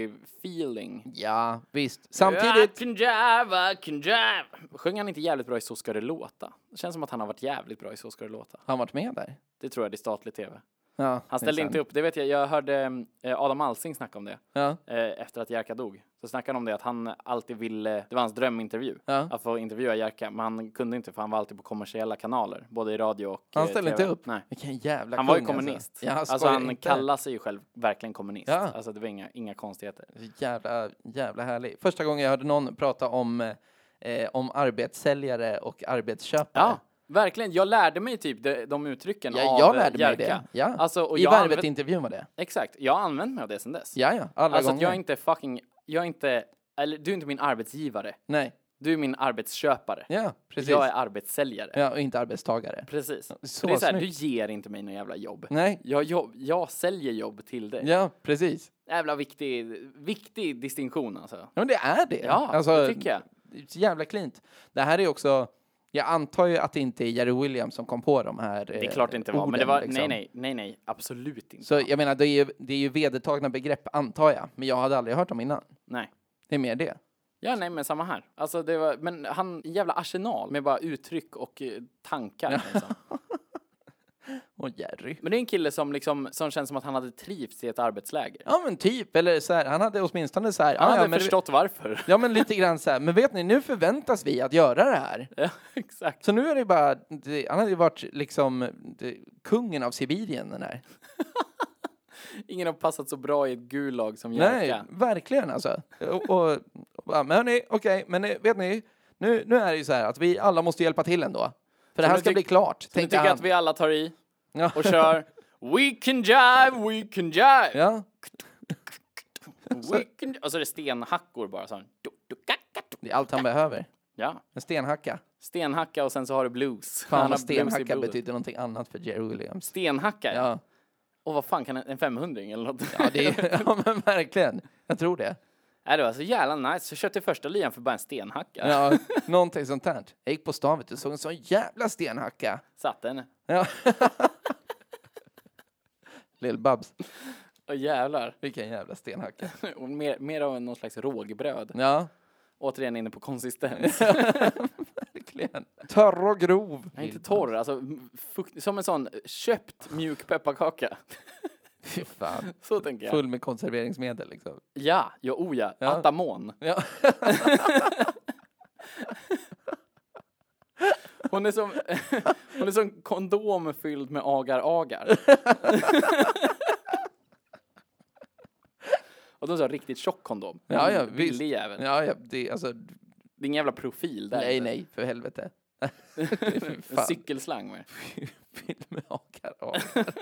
rockabilly-feeling?
Ja, visst.
I
Samtidigt...
can drive, I can drive. Sjöng han inte jävligt bra i Så ska det låta? Det känns som att han har varit jävligt bra i Så ska det låta.
Har han varit med där?
Det tror jag det är statlig tv.
Ja,
Han ställde inte upp, det vet jag, jag hörde eh, Adam Alsing snacka om det.
Ja.
eh, efter att Jerka dog. Så snackade han om det att han alltid ville, det var hans drömintervju,
Ja.
att få intervjua Jerka, men han kunde inte för han var alltid på kommersiella kanaler, både i radio och
Han
eh,
ställde
TV.
inte upp?
Nej.
Vilken jävla
Han var ju
kung, alltså.
kommunist.
Ja,
Alltså,
skojar
han
inte.
kallar sig ju själv verkligen kommunist.
Ja.
Alltså det var inga, inga konstigheter.
Jävla, jävla härlig. Första gången jag hörde någon prata om, eh, om arbetssäljare och arbetsköpare.
Ja, verkligen. Jag lärde mig typ de, de uttrycken
Ja,
av
jag lärde mig
Jerka.
det. Ja.
Alltså, och
I
jag
Värvet
använt-
intervjun var det.
Exakt, jag har använt mig av det sedan dess.
Ja, ja. Alla
alltså att
gånger.
jag är inte fucking, jag är inte, eller du är inte min arbetsgivare.
Nej.
Du är min arbetsköpare.
Ja, precis.
jag är arbetssäljare.
ja, och inte arbetstagare.
Precis. För
så
det är så här, du
snyggt.
ger inte mig några jävla jobb.
Nej.
Jag, jobb, jag säljer jobb till dig.
Ja, precis.
Jävla viktig, viktig distinktion alltså.
Ja, men det är det.
Ja,
Alltså,
det tycker jag.
det är så jävla klint. Det här är också... Jag antar ju att det inte är Jerry Williams som kom på de här liksom.
Det är klart det inte var, men det var, nej, nej, nej, nej, absolut inte.
Eh, Så jag menar, det är ju, det är ju vedertagna begrepp, antar jag. Men jag hade aldrig hört dem innan.
Nej.
Det är mer det.
Ja, nej, men samma här. Alltså, det var, men han, en jävla arsenal med bara uttryck och eh, tankar.
<laughs>
Liksom.
Och Jerry.
Men det är en kille som liksom, som känns som att han hade trivts i ett arbetsläger.
Ja men typ, eller så här, han hade åtminstone så här.
Han
"Ah, ja,
hade
men,
förstått varför. <laughs>
ja men lite grann så här, men vet ni, nu förväntas vi att göra det här.
ja, exakt.
Så nu är det bara, det, han hade ju varit liksom det, kungen av Sibirien den här.
Ingen har passat så bra i ett Gulag som
Nej,
Jerka.
verkligen alltså. Och, och, och bara, men hörni, okej, men eh, vet ni, nu, nu är det ju så här att vi alla måste hjälpa till ändå. För det här
du
ska
tyck-
bli klart,
Nu
tänkte
tycker jag att
han.
vi alla tar i.
Ja.
och kör
<laughs>
We can jive, we can jive,
Ja,
we can... Och så är det stenhackor bara så här. Du, du, ka, ka, du.
det är allt han behöver.
Ja,
En stenhacka.
stenhacka och sen så har du blues.
Fan
har
vad
blues i
stenhacka
blodet.
betyder någonting annat för Jerry Williams.
Stenhacka? Ja.
Ja,
Och vad fan kan en, en 500 eller något?
ja, det är, <laughs> ja men verkligen. Jag tror det.
<laughs> Nej, det var så jävla nice. Så jag köpte första lyan för bara en stenhacka.
Ja, någonting sånt där. Jag gick på stan vet du, såg en sån jävla stenhacka.
Satte den.
Ja. Lill-Babs,
Åh jävlar. <laughs>
vilken jävla stenhacka.
Och mer, mer av någon slags rågbröd.
Ja,
Återigen inne på konsistens.
<laughs> verkligen. Törr och grov.
Nej, inte torr. Alltså, m- fukt, som en sån köpt mjuk pepparkaka.
Fy fan.
Så tänker jag.
Full med konserveringsmedel liksom.
Ja, ja, oh ja.
Ja.
Atamon.
Ja.
Hon är som, <laughs> hon är som kondom fylld med
<laughs>
agar-agar. Och de sa riktigt tjock kondom.
Ja, ja,
En billig
visst.
jävel.
Ja, ja, det alltså.
Det är ingen jävla profil där.
Nej,
inte.
nej, för helvete. <laughs> Fy
<laughs> En
fan.
cykelslang med.
Fylld med agar-agar. <laughs>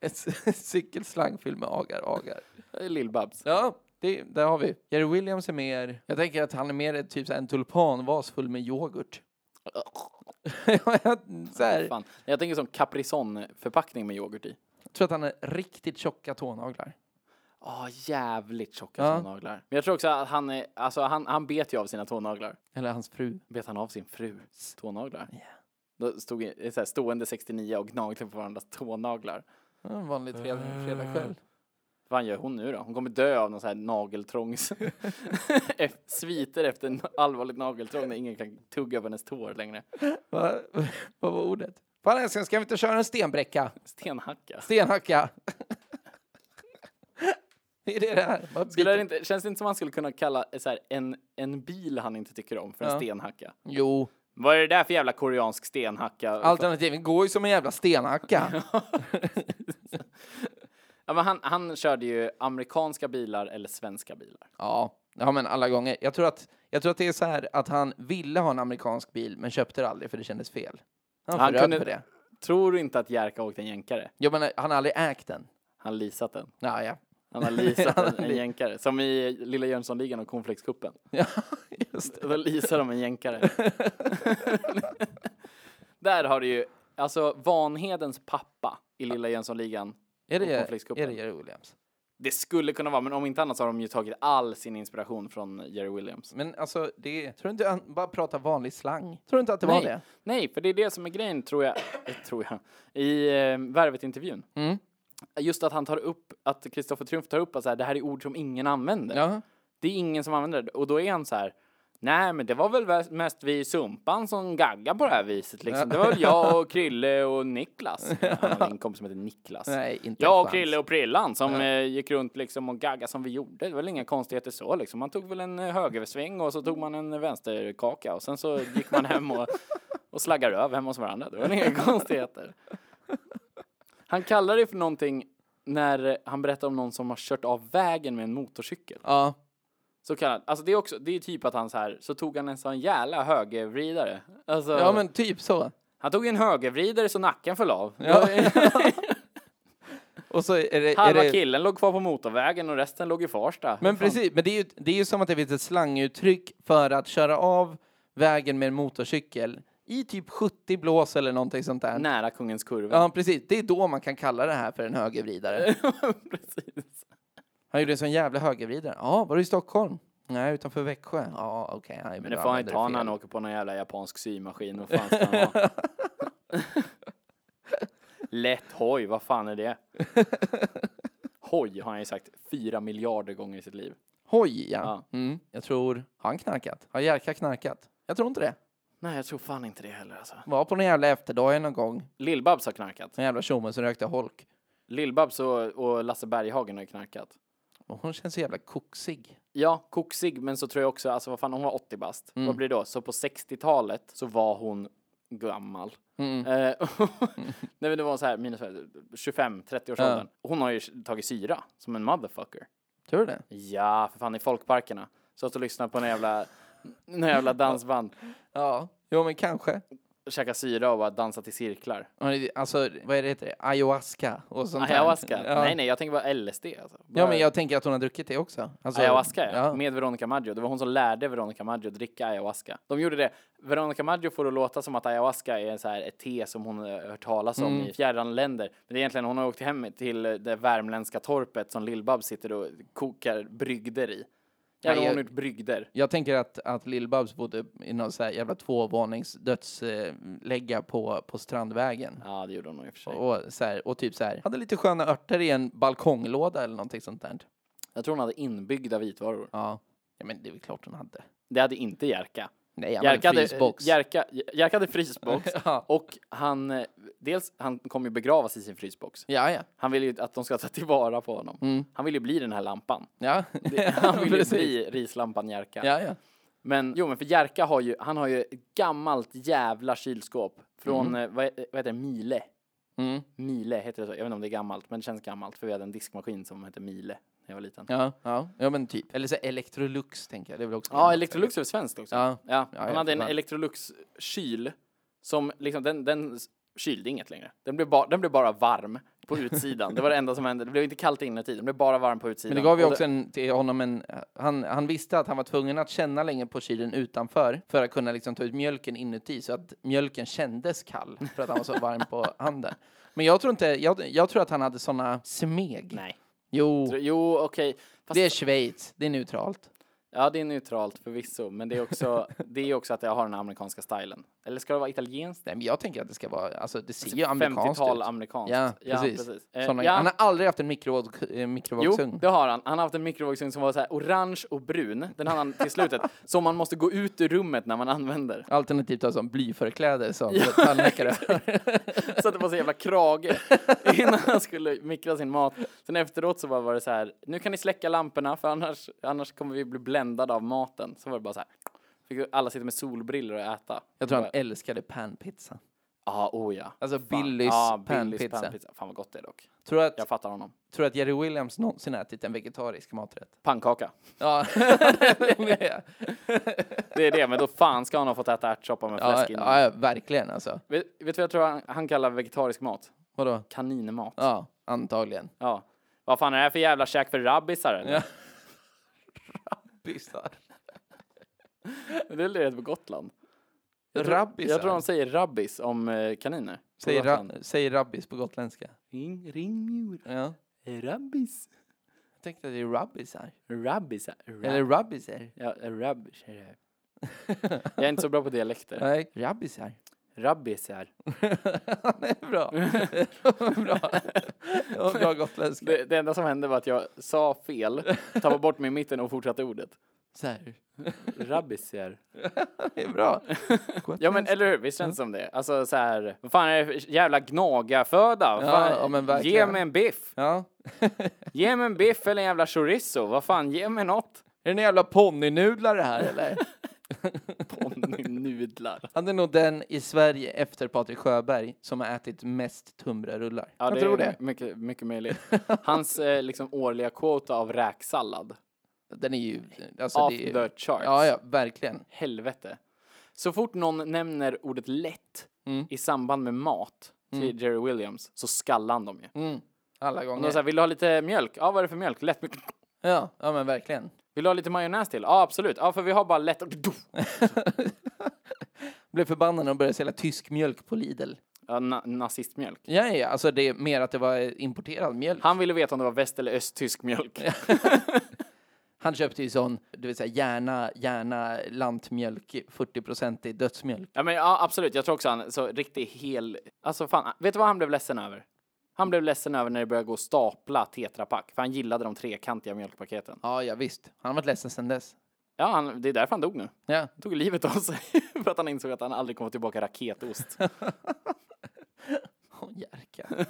Ett c- cykelslang fylld med agar-agar.
Lill-Babs.
Ja, det, där har vi. Jerry Williams är mer... Jag tänker att han är mer ett typ så här en tulpanvas full med yoghurt. <laughs> Ja, jag, så här,
Fan. Jag tänker som Caprison-förpackning med yoghurt i.
jag tror att han har riktigt tjocka tånaglar.
Åh, jävligt tjocka
Ja.
tånaglar. Men jag tror också att han, är, alltså, han, han bet ju av sina tånaglar.
Eller hans fru.
Bet han av sin frus tånaglar? Då stod i- så här, stående 69 och gnagde på varandras tånaglar.
Ja, En vanlig fred- fredagskväll.
Vad fan gör hon nu då? Hon kommer dö av någon sån här <laughs> nageltrångs... Ef- sviter efter en allvarligt nageltrång när ingen kan tugga på hennes tår längre.
<laughs> Va, <laughs> vad var ordet? Fan älskling, ska vi inte köra en stenbräcka?
Stenhacka.
Stenhacka! <laughs> det är det det här. Man
Skulle
biter-
det inte, känns det inte som man skulle kunna kalla eh, så här, en, en bil han inte tycker om för en
Ja.
stenhacka?
Jo,
Vad är det där för jävla koreansk stenhacka?
alternativen går ju som en jävla stenhacka.
ja, men han, han körde ju amerikanska bilar eller svenska bilar.
ja, Ja, men alla gånger. Jag tror, att, jag tror att det är så här att han ville ha en amerikansk bil men köpte det aldrig för det kändes fel. Han,
Han
han kunde...
kunde-
på det.
Tror du inte att Jerka åkte en jänkare?
Jag menar, han har aldrig ägt den.
Han leasat den.
Ja, <laughs> ja.
Han har leasat
Han har
en, en
le-
jänkare. Som i Lilla Jönssonligan och Cornflakescupen.
ja just det.
Då leasar de en
<laughs>
jänkare. Där har du ju, alltså Vanhedens pappa i Lilla Jönssonligan.
Är
Och
det,
konfliktskuppen.
är det Jerry Williams?
Det skulle kunna vara, men om inte annat så har de ju tagit all sin inspiration från Jerry Williams.
Men alltså, det tror du inte han bara pratar vanlig slang? Tror du inte att det var
Nej,
det?
nej, för det är det som är grejen tror jag, eh, tror jag i eh, Värvet-intervjun.
Mm.
Just att han tar upp, att Kristoffer Triumf tar upp att så här, det här är ord som ingen använder.
Ja.
Det är ingen som använder det. Och då är han så här, nej men det var väl väs- mest vi i Sumpan som gaggade på det här viset liksom. Det var väl jag
<laughs>
och Krille och Niklas. Han hade en kompis som heter Niklas.
Nej, inte en
Jag och
chans.
Krille och Prillan som eh, gick runt liksom och gaggade som vi gjorde. Det var väl inga konstigheter så liksom. Man tog väl en eh, högersväng och så tog man en eh, vänsterkaka och sen så gick man hem
<laughs>
och, och slaggade över hemma hos varandra. Det var väl inga konstigheter. Han kallar det för någonting när eh, han berättar om någon som har kört av vägen med en motorcykel.
Ja.
Så kallad. Alltså det är också, det är typ att han så här, så tog han en sån jävla högervridare. Alltså,
ja, men typ så.
han tog en högervridare så nacken föll av. <laughs>
Ja. Och så är det... <laughs> Är
Halva
det
killen låg kvar på motorvägen och resten låg i Farsta.
men
Vad fan.
precis, men det är, ju, det är ju som att det finns ett slanguttryck för att köra av vägen med en motorcykel i typ 70 blås eller någonting sånt där.
Nära kungens kurva.
Ja, precis. Det är då man kan kalla det här för en
<laughs>
högervridare.
precis.
Han gjorde en sån jävla högervridare. Ja, var du i Stockholm? Nej, utanför Växjö. Ja, okej. Okay.
Men det får han inte ha när han åker på någon jävla japansk symaskin. Vad fan ska han ha? <laughs> Lätt hoj, vad fan är
<laughs>
det? Hoj har han ju sagt fyra miljarder gånger i sitt liv.
Hoj, ja. Mm. Jag tror... Har han knarkat? Har Jerka knarkat? Jag tror inte det.
Nej, jag tror fan inte det heller alltså.
Var på någon jävla efterdag någon gång.
Lill-Babs har knarkat.
En jävla tjomme som rökte holk.
Lill-Babs och, och Lasse Berghagen har ju knarkat.
Och hon känns så jävla koksig.
Ja, koksig, men så tror jag också, alltså vad fan, hon var 80 bast.
Mm.
Vad blir det då? Så på 60-talet så var hon gammal.
Mm.
Eh, <laughs> Nej men det var så här, minus 25-30 års
Ja.
åldern. Hon har ju tagit syra, som en motherfucker.
Tror du det?
Ja, för fan i folkparkerna. Så att och lyssnade på en jävla, en jävla dansband.
Ja. Jo, men kanske.
Käka syra och bara dansa till cirklar.
Ja, det- Alltså, vad är det heter det? Ayahuasca och sånt där.
Ayahuasca?
Ja.
Nej nej, jag tänker bara LSD alltså.
Ja,
Bara
men jag tänker att hon har druckit det också. Alltså,
Ayahuasca ja.
ja.
med Veronica Maggio. Det var hon som lärde Veronica Maggio att dricka ayahuasca. De gjorde det. Veronica Maggio får det att låta som att ayahuasca är så här ett te som hon eh, hört talas om i fjärran länder. Men det är egentligen hon har åkt hem till eh, det värmländska torpet som Lill-Babs sitter och kokar brygder i. Jävlar
jag-
hon har gjort brygder.
Jag tänker att, att Lill-Babs bodde i någon så här jävla tvåvåningsdödslägga på, på Strandvägen.
Ja, det gjorde hon nog i och för sig.
Och, så här, och typ så här, hade lite sköna örter i en balkonglåda eller någonting sånt där.
Jag tror hon hade inbyggda vitvaror.
Ja. ja, men det är väl klart hon hade.
Det hade inte Jerka.
Nej, han
Jerka
hade
hade,
frysbox.
Jerka, Jerka hade frysbox.
<laughs> Ja.
Och han, eh, dels, han kommer ju begravas i sin frysbox.
Ja, ja.
Han vill ju att de ska ta tillvara på honom. Han vill ju bli den här lampan.
Mm. <laughs> Ja,
Det, han
<laughs>
vill ju
precis.
bli rislampan Jerka.
Ja, ja.
Men jo, men för Jerka har ju, han har ju ett gammalt jävla kylskåp från,
Mhm.
eh, vad, eh, vad heter det, Mile?
Mm.
Mile heter det så. Jag vet inte om det är gammalt, men det känns gammalt för vi hade en diskmaskin som hette Mile när jag var liten. Ja,
Ja, ja. ja men typ. Eller så här Electrolux tänker jag. Det är väl också
Electrolux är väl svenskt också?
Ja. Ja,
han
ja,
hade en
fan.
Electrolux-kyl som liksom, den, den s- kylde inget längre. Den blev, ba, den blev bara varm på utsidan. det var det enda som hände. Det blev inte kallt inuti, den blev bara varm på utsidan.
Men det gav ju
Och
också en, till honom en... Han, han visste att han var tvungen att känna länge på kylen utanför för att kunna liksom ta ut mjölken inuti så att mjölken kändes kall för att han var så varm
<laughs>
på handen. Men jag tror inte... Jag, jag tror att han hade såna smeg.
Nej.
Jo,
Jo, okej. Fast-
det är Schweiz. Det är neutralt.
Ja, det är neutralt förvisso, men det är
<laughs>
också, det är också att jag har den amerikanska stylen. Eller ska det vara italienskt?
Nej, men jag tänker att det ska vara... Alltså, det ser ju amerikanskt
50-tal
ut.
amerikanskt.
Ja, precis.
Eh,
Såna,
ja.
Han har aldrig haft en mikrovåg, eh,
Jo,
mikrovågsugn.
det har han. Han har haft en mikrovågsugn som var så här orange och brun. Den hade han till slutet.
<laughs>
som man måste gå ut ur rummet när man använder.
Alternativt alltså blyförkläde som tandläkare.
Så att det var så jävla
<laughs>
krage innan han skulle mikra sin mat. Sen efteråt så bara var det så här, nu kan ni släcka lamporna för annars, annars kommer vi bli bländade av <laughs> maten. Så var det bara så här, fick alla sitta med solbrillor och äta.
Jag tror han älskade panpizza.
Ja, oh ja.
Alltså
Fan.
Billys
Ja,
panpizza.
panpizza. Fan vad gott det är dock.
Tror du att,
Jag fattar honom.
tror du att Jerry Williams någonsin ätit en vegetarisk maträtt?
Pannkaka.
<laughs> Ja, det menar jag.
Det är det, men då fan ska han ha fått äta ärtsoppa med
ja,
fläsk innan.
ja, verkligen alltså.
Vet, vet du vad jag tror han, han kallar vegetarisk mat?
Vadå?
Kaninmat. Ja.
Ja, antagligen.
Vad fan är det här för jävla käk för rabbisar eller?
Ja. Rabbisar.
Det är rätt på Gotland. Jag tror-
Rabbisar?
Jag tror de säger rabbis om eh, kaniner. på
säger,
Gotland.
ra- säger rabbis på gotländska.
Ring, ring, mjur.
Ja.
Rabbis.
Jag tänkte att det är rabbisar.
Rabbisar. Rab-
Eller rabbiser.
Ja, rabbis. Jag är inte så bra på dialekter.
Nej, rabbisar.
Rabbisar.
<laughs> det är bra. Det var <laughs> bra. Det var bra gotländska.
Det, det enda som hände var att jag sa fel, tappade bort mig i mitten och fortsatte ordet.
Så här.
Rabbisar.
Det är <laughs> bra.
Ja men eller hur, visst känns det som det? Alltså så här, vad fan är det för jävla gnagaföda? Vad
Ja,
fan-
ja, men
ge
verkligen.
mig en biff!
Ja.
Ge mig en biff eller en jävla chorizo, vad fan, ge mig något!
Är det en jävla ponnynudlar det här eller?
Ponnynudlar.
Han är nog den i Sverige efter Patrik Sjöberg som har ätit mest Tumbrarullar.
Ja,
Jag
det
tror
är
det.
Mycket, mycket möjligt. Hans eh, liksom årliga kvota av räksallad.
Den är ju... Alltså,
off
det är,
the charts.
Ja, ja, verkligen.
Helvete. Så fort någon nämner ordet lätt
Mm.
i samband med mat till Jerry Williams så skallar han dem ju.
Mm. Alla
Och då
gånger.
så här, vill du ha lite mjölk? Ja, vad är det för mjölk? Lätt mjölk.
Ja, ja, men verkligen.
Vill du ha lite majonnäs till? Ja, absolut. Ja, för vi har bara lätt.
Blev förbannad när de började sälja tysk mjölk på Lidl.
Ja, na- nazistmjölk.
Ja, ja, ja, alltså det är mer att det var eh, importerad mjölk.
Han ville veta om det var väst eller östtysk mjölk.
Han köpte ju sån, du vill säga gärna, gärna lantmjölk, 40 i dödsmjölk.
Ja, men ja, absolut. Jag tror också han så riktigt hel... Alltså fan, vet du vad han blev ledsen över? Han blev ledsen över när det började gå att stapla tetrapack, för han gillade de trekantiga mjölkpaketen.
Ja, ja visst. Han har varit ledsen sedan dess.
Ja, han, det är därför han dog nu.
Ja. <laughs>
Han tog livet av sig <laughs> för att han insåg att han aldrig kommer tillbaka raketost.
Åh, oh,
<laughs>
Jerka.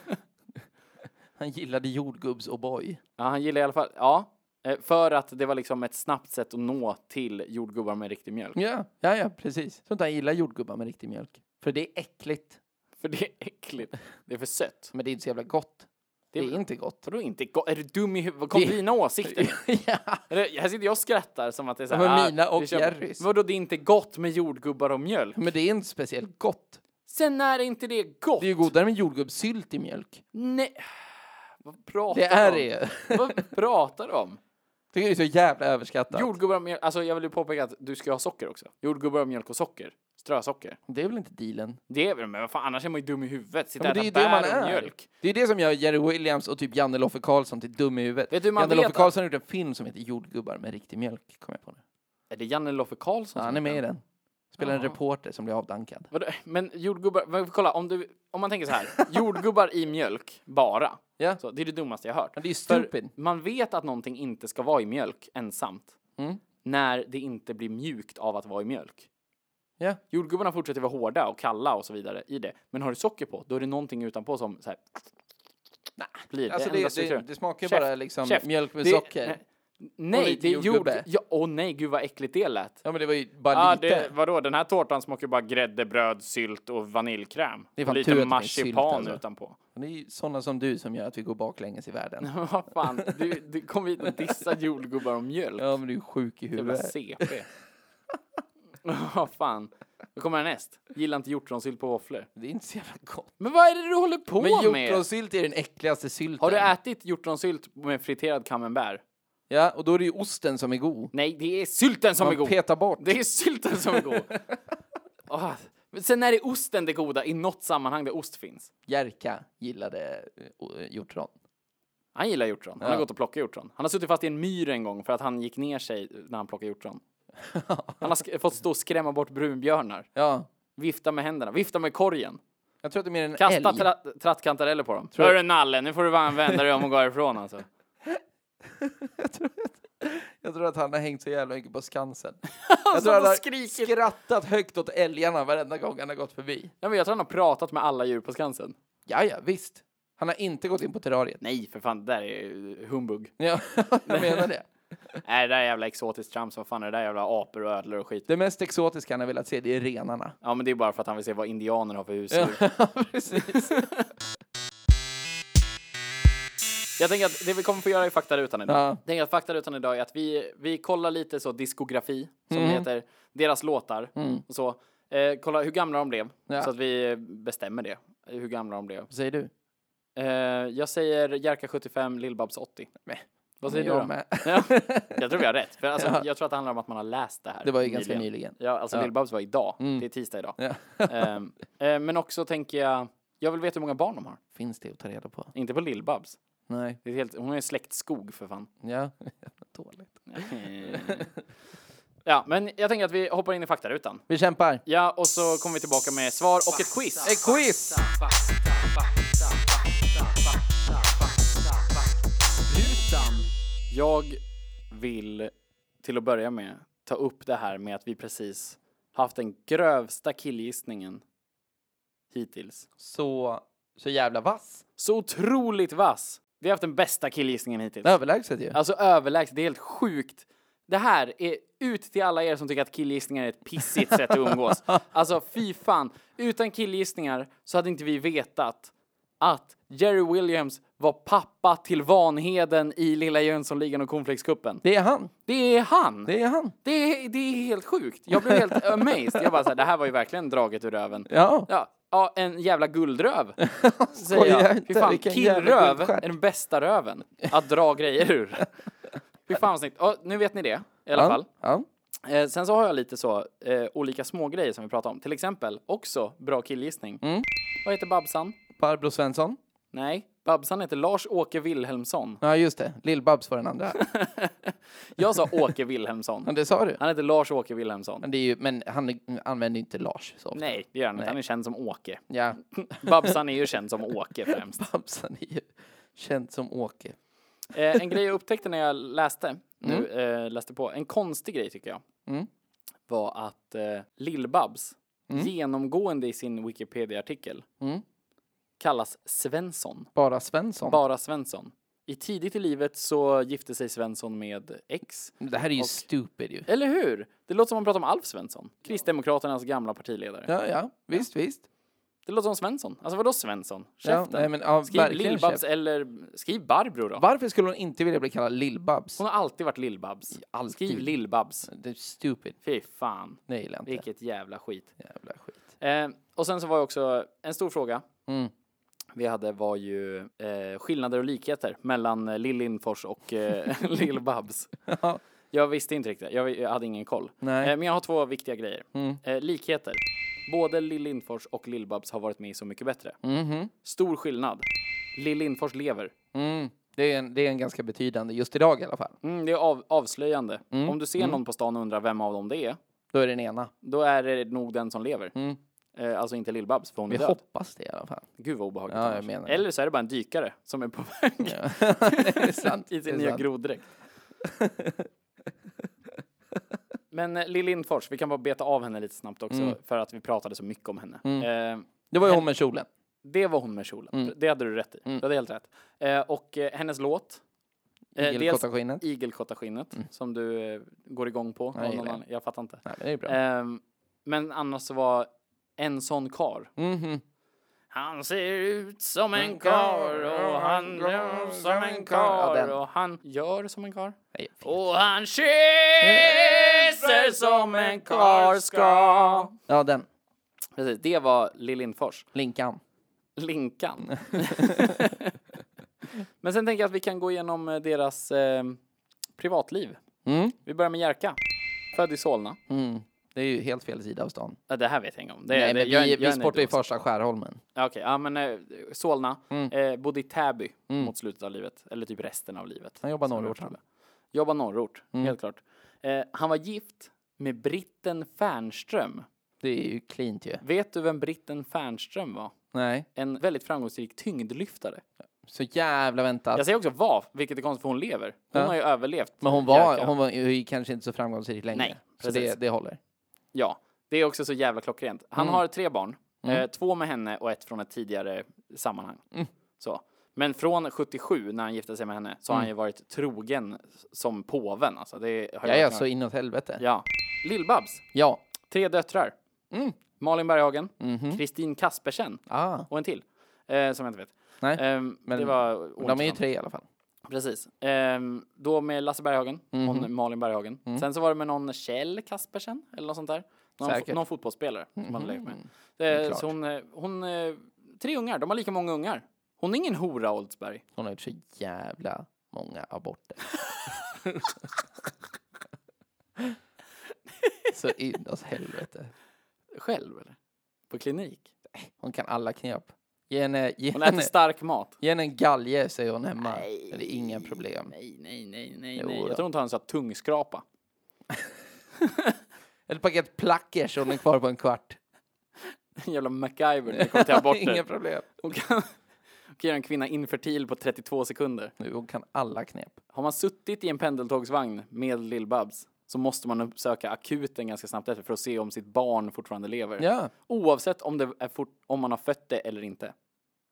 Han gillade jordgubbs O'boy.
Ja, han gillade i alla fall... Ja, eh, för att det var liksom ett snabbt sätt att nå till jordgubbar med riktig mjölk.
Ja, ja, ja, precis. Jag tror inte han gillar jordgubbar med riktig mjölk. För det är äckligt.
För det är äckligt. Det är för sött.
Men det är inte så jävla gott. Det är inte gott. <laughs>
Vadå inte gott? Är du dum i huvudet? Vad kom
Det-
dina åsikter?
<laughs> ja.
Eller, här sitter jag och skrattar som att det är så här,
Ja, men
ah,
mina och
vi kör-
Jerrys.
Vadå det är inte gott med jordgubbar och mjölk?
Men det är inte speciellt gott.
Sen är det inte det gott.
Det är ju godare med jordgubbssylt i mjölk.
Nej. Vad pratar
Det är
du om?
det <laughs>
Vad pratar du om?
Tycker det är så jävla överskattat.
Jordgubbar och mjölk, alltså jag vill ju påpeka att du ska ha socker också. Jordgubbar och mjölk och socker. Strösocker.
Det är väl inte dealen?
Det är väl, men vad fan annars är man ju dum i huvudet. Sitta
Ja,
och
men det är ju
äta
det man
bär och
är.
mjölk.
Det är det som gör Jerry Williams och typ Janne Loffe Karlsson till dum i huvudet.
Vet du hur man
Janne
vet
Loffe
att-
Karlsson har gjort en film som heter Jordgubbar med riktig mjölk, kom jag på nu.
Är det Janne Loffe Karlsson?
Ja,
som
han
heter
är med i
den?
den. Spelar en reporter som blir avdankad.
Vadå? Men jordgubbar, men kolla om, du, om man tänker så
<laughs>
här, jordgubbar i mjölk bara.
Ja.
Så, det är det dummaste jag hört.
Men det är ju
För
stupid.
man vet att någonting inte ska vara i mjölk ensamt.
Mm.
När det inte blir mjukt av att vara i mjölk.
Ja.
Jordgubbarna fortsätter vara hårda och kalla och så vidare i det. Men har du socker på, då är det någonting utanpå som så här, blir
Alltså
det enda
det, det,
strukturen.
det smakar ju
Käft,
bara liksom
käft.
mjölk med
Det-
socker.
Nej,
lite
det är jord...
jordgubbe.
Ja, åh nej, gud vad äckligt det lät.
Ja men det var ju bara
Ja,
lite.
det, vadå, den här tårtan smakar ju bara grädde, bröd, sylt och vaniljkräm.
Det
och
är fan tur att det
lite
finns
marsipan
sylt, alltså.
utanpå. <laughs>
Det är ju sådana som du som gör att vi går baklänges i världen.
Vad fan, du, du kom hit och dissade jordgubbar och mjölk.
Ja men du är sjuk i
Jävla
huvudet.
CP. <laughs> Vad fan. Då kommer härnäst. Gillar inte hjortronsylt på våfflor.
Det är inte så jävla gott.
Men vad är det du håller på
Men
med?
hjortronsylt är den äckligaste sylten.
Har du ätit hjortronsylt med friterad camembert?
Ja, och då är det ju osten som är god.
Nej, det är sylten som
Man
är god.
petar bort.
Det är sylten som är god.
<laughs>
Ah, Men sen är det osten det goda i något sammanhang där ost finns.
Jerka gillade eh, o- eh, hjortron.
Han gillar hjortron. Han har
Ja.
gått och plockat hjortron. Han har suttit fast i en myr en gång för att han gick ner sig när han plockade
<laughs>
hjortron. Han har sk- fått stå och skrämma bort brunbjörnar.
Ja,
Vifta med händerna. Vifta med korgen.
jag tror att det är mer en älg.
Kasta tra trattkantareller på dem. Tror Hörru Nalle, nu får du bara vända dig om och gå härifrån
<laughs>
alltså.
Jag tror att han har hängt så jävla mycket
<laughs>
på Skansen.
Jag
Jag tror
tror
han
har
har
skrikit.
skrattat högt åt älgarna varenda gång han har gått förbi.
Nej, men jag tror han har pratat med alla djur på Skansen.
Ja, ja, visst. Han har inte gått in på terrariet.
Nej, för fan, det där är ju humbug.
Ja, <laughs> jag menar det.
Nej, det där är jävla exotiskt trams. Vad fan är det där jävla apor och ödlor och skit?
Det mest exotiska han har velat se, det är renarna.
Ja, men det är bara för att han vill se vad indianer har för <laughs> husdjur.
precis.
Jag tänker att det vi kommer få göra i faktarutan idag.
Ja.
Jag tänker att faktarutan idag är att vi, vi kollar lite så diskografi, som
Mhm.
det heter, deras låtar och så. Eh, kolla hur gamla de blev,
Mm. Ja.
så att vi bestämmer det. Hur gamla de blev.
Vad säger du?
Eh, jag säger Jerka 75, Lill-Babs 80.
Nej.
Vad säger du
Jag
då?
<laughs> med.
Ja, jag tror vi har rätt. För
<laughs>
alltså, Jag tror att det handlar om att man har läst det här.
Det var ju ganska nyligen. Mm.
Ja, alltså Lill-Babs var idag. Det är tisdag idag.
Ja.
<laughs> Ehm, eh, men också tänker jag, jag vill veta hur många barn de har.
Finns det att ta reda på?
Inte på Lill-Babs.
Nej.
Det är helt, hon är släktskog för fan.
Ja. <laughs> Dåligt.
Eh, ja, men jag tänker att vi hoppar in i faktarutan.
Vi kämpar.
Ja, och så kommer vi tillbaka med svar och ett quiz.
Ett quiz!
Jag vill till att börja med ta upp det här med att vi precis haft den grövsta killgissningen hittills.
Så, så jävla vass.
Så otroligt vass! Vi har haft den bästa killgissningen hittills.
Överlägset ju.
Alltså överlägset, det är helt sjukt. Det här är ut till alla er som tycker att killgissningar är ett pissigt sätt att umgås. Alltså fy fan, utan killgissningar så hade inte vi vetat att Jerry Williams var pappa till Vanheden i Lilla Jönssonligan och Cornflakescupen.
Det är han.
Det är han!
Det är han.
Det är, det är helt sjukt. Jag blev helt amazed. Jag bara såhär, det här var ju verkligen draget ur röven.
Ja.
Ja, ja en jävla
<laughs>
guldröv. Säger
Skojar
jag.
inte,
Fy fan,
vilken jävla
killröv är
guldstjärt.
den bästa röven att dra grejer ur. Fy fan vad snyggt. Ja, nu vet ni det i alla fall.
Ja.
Eh, sen så har jag lite så, eh, olika små grejer som vi pratar om. Till exempel, också bra killgissning.
Mm.
Vad heter Babsan?
Barbro Svensson.
Nej, Babsan heter Lars-Åke Wilhelmsson.
Ja, just det. Lill-Babs var den <laughs> andra.
Jag sa Åke Wilhelmsson.
Men det sa du.
Han heter Lars-Åke Wilhelmsson.
<laughs> Men, det är ju, men han är- använder ju inte Lars så ofta.
Nej, det gör han inte. Han är känd som Åke.
Ja. <laughs>
Babsan är ju känd som Åke främst.
Babsan är ju känd som Åke.
Eh, en grej jag upptäckte när jag läste, nu eh, läste på, en konstig grej tycker jag,
Mm.
var att eh, Lill-Babs genomgående i sin Wikipedia-artikel
Mm.
kallas Svensson,
Bara Svensson.
bara Svensson. I tidigt i livet så gifte sig Svensson med X.
det här är ju stupid ju.
Eller hur? Det låter som man pratar om Alf Svensson, Kristdemokraternas gamla partiledare.
Ja, ja. Visst, visst.
Det låter som Svensson. Alltså vadå Svensson?
Ja,
Käften.
nej, men, ja,
skriv
verkligen
Lill-Babs
käft.
eller skriv Barbro då.
Varför skulle hon inte vilja bli kallad Lill-Babs?
Hon har alltid varit Lill-Babs.
alltid.
Skriv Lill-Babs.
Det är stupid.
Fy fan.
Det gillar jag inte.
Vilket jävla skit.
Jävla skit.
Eh, och sen så var ju också en stor fråga
Mm.
vi hade var ju eh, skillnader och likheter mellan eh, Lill Lindfors och eh, <laughs> Lill Babs.
Ja.
Jag visste inte riktigt, jag, jag hade ingen koll.
Nej. Mm.
Eh, men jag har två viktiga grejer. Eh, likheter. Både Lill Lindfors och Lill Babs har varit med i Så mycket bättre.
Mhm.
Stor skillnad. Lill Lindfors lever.
Mm. Det, är en, det är en ganska betydande, just idag i alla fall.
Mm, det är av, avslöjande.
Mm.
Om du ser någon på stan och undrar vem av dem det är,
Då är det den ena.
då är det nog den som lever. Eh, alltså inte Lill Babs, för hon är
Vi
död.
Mm. hoppas det i
<laughs>
alla fall.
Gud vad obehagligt
Ja, jag
annars.
menar det.
Eller så är det bara en dykare som är på <laughs> väg
<laughs> det är sant.
i
det
sin
är
nya
sant. <laughs>
groddräkt. Men eh, Lill Lindfors, vi kan bara beta av henne lite snabbt också
Mm.
för att vi pratade så mycket om henne. Eh,
Det var ju hon med kjolen.
det var hon med kjolen,
Mm.
det hade du rätt i. Du hade helt rätt. Eh, och eh, hennes låt, eh, dels
Igelkottaskinnet.
Igelkottaskinnet, som du eh, går igång på.
Mm. jag
av
gillar
någon annan- jag fattar inte.
Nej, men det är bra.
Ehm, men annars så var en sån kar.
Mhm.
Han ser ut som en kar och han gör som en
Ja,
kar
den.
och han gör som en kar.
Nej,
Och han kysser som en kar ska.
Ja, den.
Precis, det var Lill Lindfors.
Linkan.
<laughs> Linkan. men sen tänker jag att vi kan gå igenom eh, deras eh, privatliv. Vi börjar med Jerka. Född i Solna.
Mm. Det är ju helt fel sida av stan.
Ja, Det här vet jag inte om. Det,
Nej,
Eh, det,
men
jag-
vi,
jag är
vi
en
sportar ju
idiot.
första Skärholmen.
Ja, Okej, ja men eh, Solna,
Mm.
eh, bodde i Täby mot slutet av livet, eller typ resten av livet.
Han jobbar
Som
norrort, Mm.
jag
han.
förstod det. Jobbar norrort, helt klart. Eh, han var gift med britten Fernström.
Det är ju cleant ju.
Vet du vem britten Fernström var?
Nej.
En väldigt framgångsrik tyngdlyftare.
Så jävla väntat.
Jag säger också var, vilket är konstigt för hon lever. Hon
Ja.
har ju överlevt.
Men hon var,
Jerka.
hon var ju kanske inte så framgångsrik längre.
Nej,
så
precis.
det, det håller.
Ja, det är också så jävla
Mm. Mm.
klockrent. Han har tre barn, eh, två med henne och ett från ett tidigare sammanhang. Så. Men från 77 när han gifte sig med henne så har
Mm.
han ju varit trogen som påven. Alltså, det har ju
Jag är
varit-
alltså inåt helvete. Ja.
ja. Lill-Babs, tre döttrar.
Mm. Mhm.
Malin Berghagen, Kristin Kaspersen
Ah,
och en till. Eh, som jag inte vet.
nej.
Ehm,
men
det var
De är ju
ointressant.
tre i alla fall.
Precis. Ehm, då med Lasse Berghagen,
Mhm.
hon, Malin Berghagen.
Mm.
Sen så var det med någon Kjell Kaspersen eller något sånt där. Någon,
Säkert. Mhm.
fo- någon fotbollsspelare som hon lekt med.
är
Eh,
klart.
så hon, eh, hon, eh, tre ungar, de har lika många ungar. Hon är ingen hora Oldsberg.
Hon har gjort så jävla många
<laughs>
aborter. så inåt helvete.
Själv eller? På klinik.
Hon kan alla knep. Ge henne, ge <laughs>
Hon äter
henne,
stark mat.
ge henne en galge, säger hon hemma. Det är inga problem.
Nej, nej, nej, nej,
Jo
nej. Jag
då.
tror hon tar en sån här tungskrapa. <laughs>
Eller paket plackers, hon är kvar på en kvart.
En jävla MacGyver när det kommer
<laughs>
till
inga
<laughs> aborter.
problem.
Hon kan, hon kan göra en kvinna infertil på 32 sekunder.
Nu, hon kan alla knep.
Har man suttit i en pendeltågsvagn med Lill-Babs så måste man uppsöka akuten ganska snabbt efter för att se om sitt barn fortfarande lever.
Ja,
Oavsett om, det är fort, om man har fött det eller inte.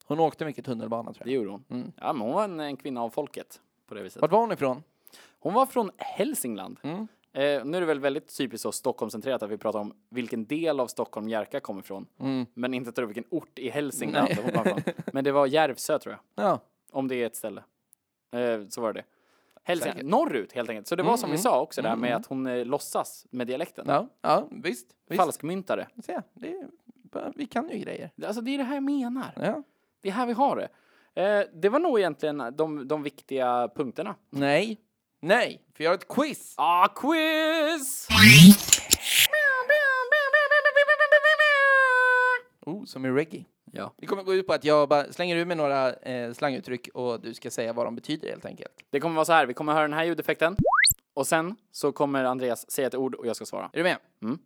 hon åkte mycket tunnelbana tror
Det
jag.
gjorde hon. Ja, men hon var en, en kvinna av folket på det viset.
Vart var hon ifrån? Mm.
Hon var från Hälsingland. Eh, nu är det väl väldigt typiskt så Stockholmscentrerat att vi pratar om vilken del av Stockholm Jerka kommer ifrån.
Mm.
Men inte tar upp vilken ort i Hälsingland hon kom ifrån. Men det var Järvsö tror jag.
Ja,
Om det är ett ställe. Eh, så var det. Hälsing, norrut helt enkelt. Så
Mm,
det var som vi sa också där med att hon eh, låtsas med dialekten.
ja, ja visst. visst.
Falskmyntare.
Se, det är, bara- vi kan ju grejer.
Alltså det är det här jag menar.
Ja.
Det är här vi har det. Eh, det var nog egentligen de, de viktiga punkterna.
Nej. Nej, för jag har ett quiz.
Ah, quiz!
Oh, som i reggae.
Ja.
Det kommer gå ut på att jag bara slänger ur mig några eh, slanguttryck och du ska säga vad de betyder helt enkelt.
Det kommer vara så här, vi kommer höra den här ljudeffekten. Och sen så kommer Andreas säga ett ord och jag ska svara.
Är du med?
Mm.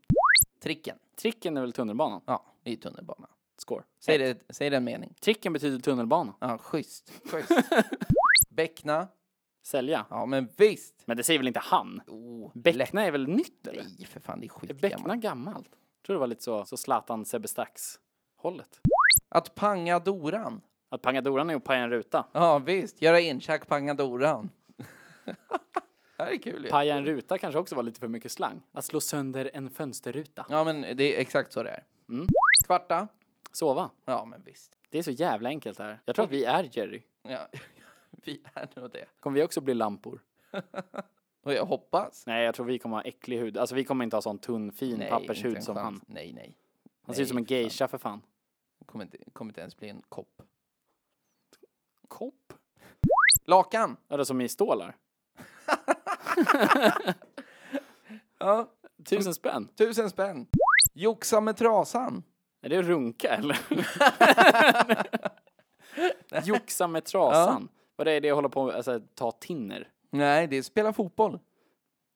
Tricken.
Tricken är väl tunnelbanan?
Ja, det är ju tunnelbana.
Score.
Säg, det, säg den mening.
Tricken betyder tunnelbana.
Ja, schysst. schysst. <laughs> Bäckna.
Sälja.
Ja, men visst.
Men det säger väl inte han?
Oh,
Bäckna är väl nytt eller?
Nej, för fan, det är
Bäckna
skitgammalt.
gammalt? Jag tror det var lite så, så Zlatan Sebestax hållet.
Att panga Doran.
Att panga Doran är att paja en ruta.
Ja, visst. Göra incheck, panga Doran. <laughs> det här är kul ju.
Paja en ruta kanske också var lite för mycket slang. Att slå sönder en fönsterruta.
Ja, men det är exakt så det är.
Mm.
Kvarta.
Sova.
Ja, men visst.
Det är så jävla enkelt det här. Jag tror att vi är Jerry.
Ja, <laughs> vi är nog det.
Kommer vi också bli lampor?
Och jag hoppas.
Nej, jag tror vi kommer ha äcklig hud. Alltså vi kommer inte ha sån tunn fin
inte
pappershud
en
som
chans.
han.
Nej, nej.
Han ser ut som en
för fan.
geisha för fan.
Kommer inte, kommer inte ens bli en kopp.
Kopp?
Lakan.
Eller som i stålar.
Ja,
Tusen spänn.
tusen spänn. Joxa med trasan.
Är det runka eller? Joxa med trasan. Vad är det jag håller på med? Alltså ta tinner?
Nej, det är spela fotboll.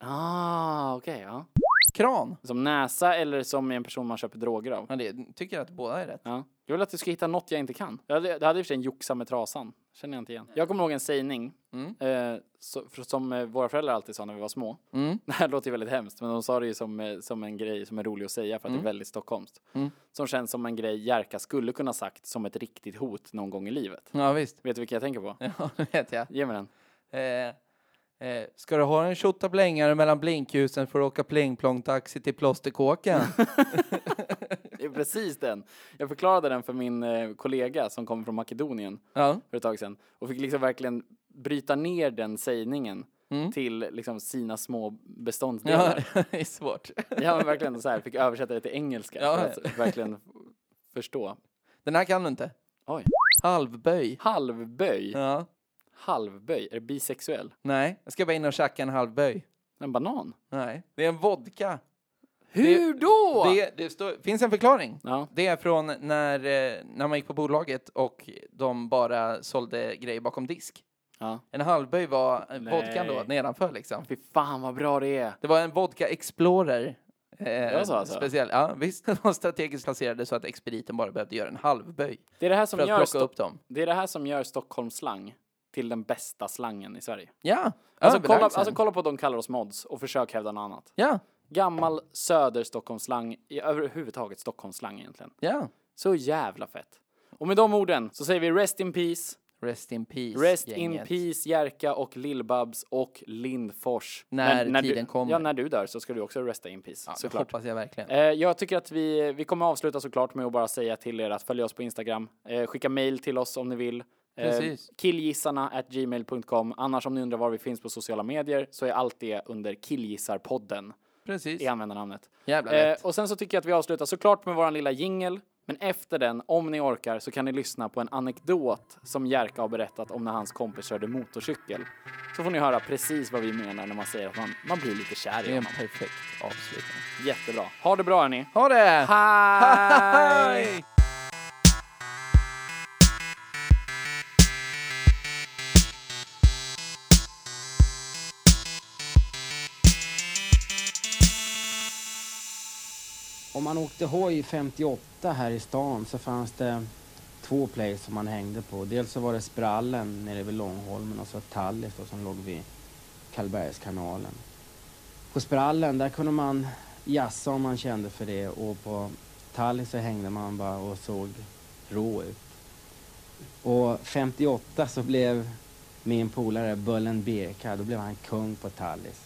Ah, okej ja.
Kran.
Som näsa eller som en person man köper droger av?
Ja, det tycker jag att båda är rätt.
Ja. Jag vill att du ska hitta något jag inte kan. Jag hade, det hade i och för sig en joxa med trasan. Känner jag inte igen. Jag kommer ihåg en sägning. Eh, så, för, som eh, våra föräldrar alltid sa när vi var små. <laughs> Det här låter ju väldigt hemskt men de sa det ju som, eh, som en grej som är rolig att säga för att det är väldigt stockholmskt. Som känns som en grej Jerka skulle kunna sagt som ett riktigt hot någon gång i livet.
Ja, visst. <laughs>
Vet du vilken jag tänker på?
Ja, det vet jag.
Ge mig den.
Eh, eh, ska du ha en tjottablingare mellan blinkljusen för att åka plingplongtaxi
<laughs>
till plåsterkåken?
Det är precis den. Jag förklarade den för min eh, kollega som kommer från Makedonien.
ja.
för ett tag sedan och fick liksom verkligen bryta ner den sägningen
Mm.
till liksom sina små
ja,
beståndsdelar.
<laughs> det är svårt.
Ja, men verkligen så här, fick översätta det till engelska
Ja.
för att verkligen f- förstå.
Den här kan du inte.
Oj.
Halvböj.
Halvböj,
Ja.
halvböj, är det bisexuell?
Nej, jag ska bara in och tjacka en halvböj.
En banan?
Nej, det är en vodka.
Hur då?
Det, det står, finns en förklaring.
Ja.
Det är från när, eh, när man gick på bolaget och de bara sålde grejer bakom disk.
ja.
En halvböj var eh, vodkan då,
Nej.
nedanför liksom.
Fy fan vad bra det är.
Det var en Vodka Explorer. Eh,
var så alltså?
Speciell. Ja, visst. Den var strategiskt placerade så att expediten bara behövde göra en halvböj
Det är det här
för
som
att
gör,
plocka
Sto-
upp dem.
det är det här som gör Stockholms slang till den bästa slangen i Sverige.
Ja,
Alltså kolla,
överlägsen.
alltså kolla på de kallar oss mods och försök hävda något annat.
Ja,
Gammal söderstockholmsslang, i- överhuvudtaget stockholmsslang egentligen.
ja.
Så jävla fett. Och med de orden så säger vi rest in peace,
Rest in peace.
Rest in
gänget.
peace Jerka och Lill-Babs och Lindfors.
När
du-
tiden kommer.
Ja, när du dör så ska du också resta in peace,
Ja, det
såklart.
hoppas jag verkligen.
Eh, jag tycker att vi, vi kommer avsluta såklart med att bara säga till er att följa oss på Instagram. Eh, skicka mail till oss om ni vill. Eh,
Precis.
killgissarna at gmail.com. Annars om ni undrar var vi finns på sociala medier så är allt det under killgissarpodden
Precis.
i användarnamnet.
Jävla
Eh,
lätt.
och sen så tycker jag att vi avslutar såklart med våran lilla jingle. Men efter den, om ni orkar, så kan ni lyssna på en anekdot som Jerka har berättat om när hans kompis körde motorcykel. Så får ni höra precis vad vi menar när man säger att man, man blir lite kär
Det
i
är en
honom.
perfekt avslutning.
Jättebra. Ha det bra hörni.
Ha det! <laughs>
Hi.
Hej!
Om man åkte hoj 58 här i stan så fanns det två place som man hängde på. Dels så var det Sprallen nere vid Långholmen och så Tallis då, som låg vid Karlbergskanalen. På Sprallen där kunde man jassa om man kände för det och på Tallis så hängde man bara och såg rå ut. Och 58 så blev min polare Bullen Birka, då blev han kung på Tallis.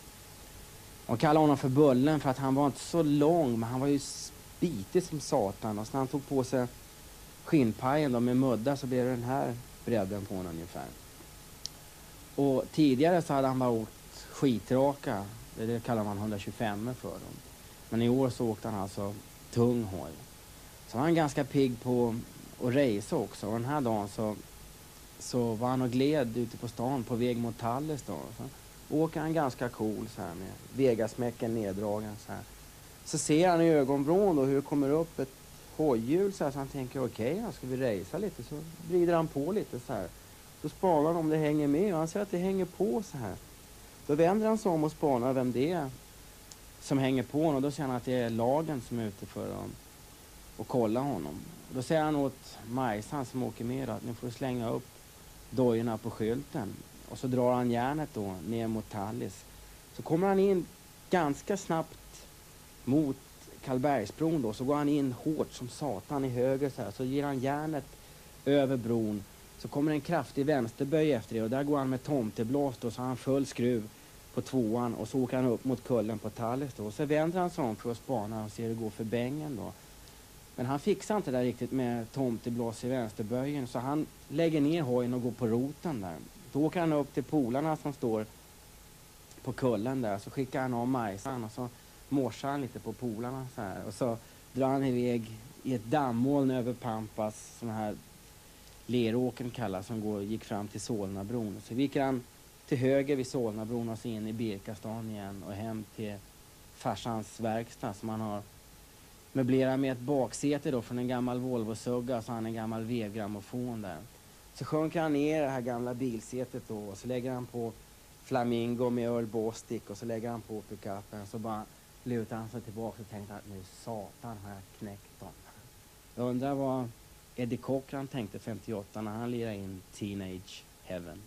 De kallade honom för Bullen för att han var inte så lång men han var ju spitig som satan. Och så när han tog på sig skinnpajen då med mudda så blev det den här bredden på honom ungefär. Och tidigare så hade han bara åkt skitraka. Det, det kallar man 125 för dem. Men i år så åkte han alltså tung hoj. Så var han ganska pigg på att racea också. Och den här dagen så, så var han och gled ute på stan på väg mot Tallis då. Så åker han ganska cool så här med Vegasmäcken neddragen så här. Så ser han i ögonvrån då hur det kommer upp ett hojhjul så här så han tänker okej, okay, ska vi racea lite? Så vrider han på lite så här. Då spanar han om det hänger med och han ser att det hänger på så här. Då vänder han sig om och spanar vem det är som hänger på honom. Då ser han att det är lagen som är ute för dem och kollar honom. Då säger han åt Majsan som åker med då, att nu får du slänga upp dojorna på skylten. Och så drar han järnet då ner mot Tallis. Så kommer han in ganska snabbt mot Karlbergsbron då. Så går han in hårt som satan i höger så här. Så ger han järnet över bron. Så kommer en kraftig vänsterböj efter det och där går han med tomteblås då. Så han full skruv på tvåan och så åker han upp mot kullen på Tallis då. Och så vänder han sig om för att spana och se hur det går för bängen då. Men han fixar inte det där riktigt med tomteblås i vänsterböjen så han lägger ner hojen och går på roten där. Då åker han upp till polarna som står på kullen där så skickar han av Majsan och så morsar han lite på polarna så här och så drar han iväg i ett dammoln över Pampas, sån här leråkern kallas, som går, gick fram till Solnabron. Så gick han till höger vid Solnabron och så in i Birkastan igen och hem till farsans verkstad som han har möblerar med ett baksäte då från en gammal Volvo-sugga och så har han en gammal vevgrammofon där. Så sjunker han ner i det här gamla bilsätet då och så lägger han på Flamingo med Earl Bostic och så lägger han på pickupen så bara lutar han sig tillbaka och tänkte att nu satan har jag knäckt dem. Jag undrar vad Eddie Cochran tänkte 58 när han lirade in Teenage Heaven.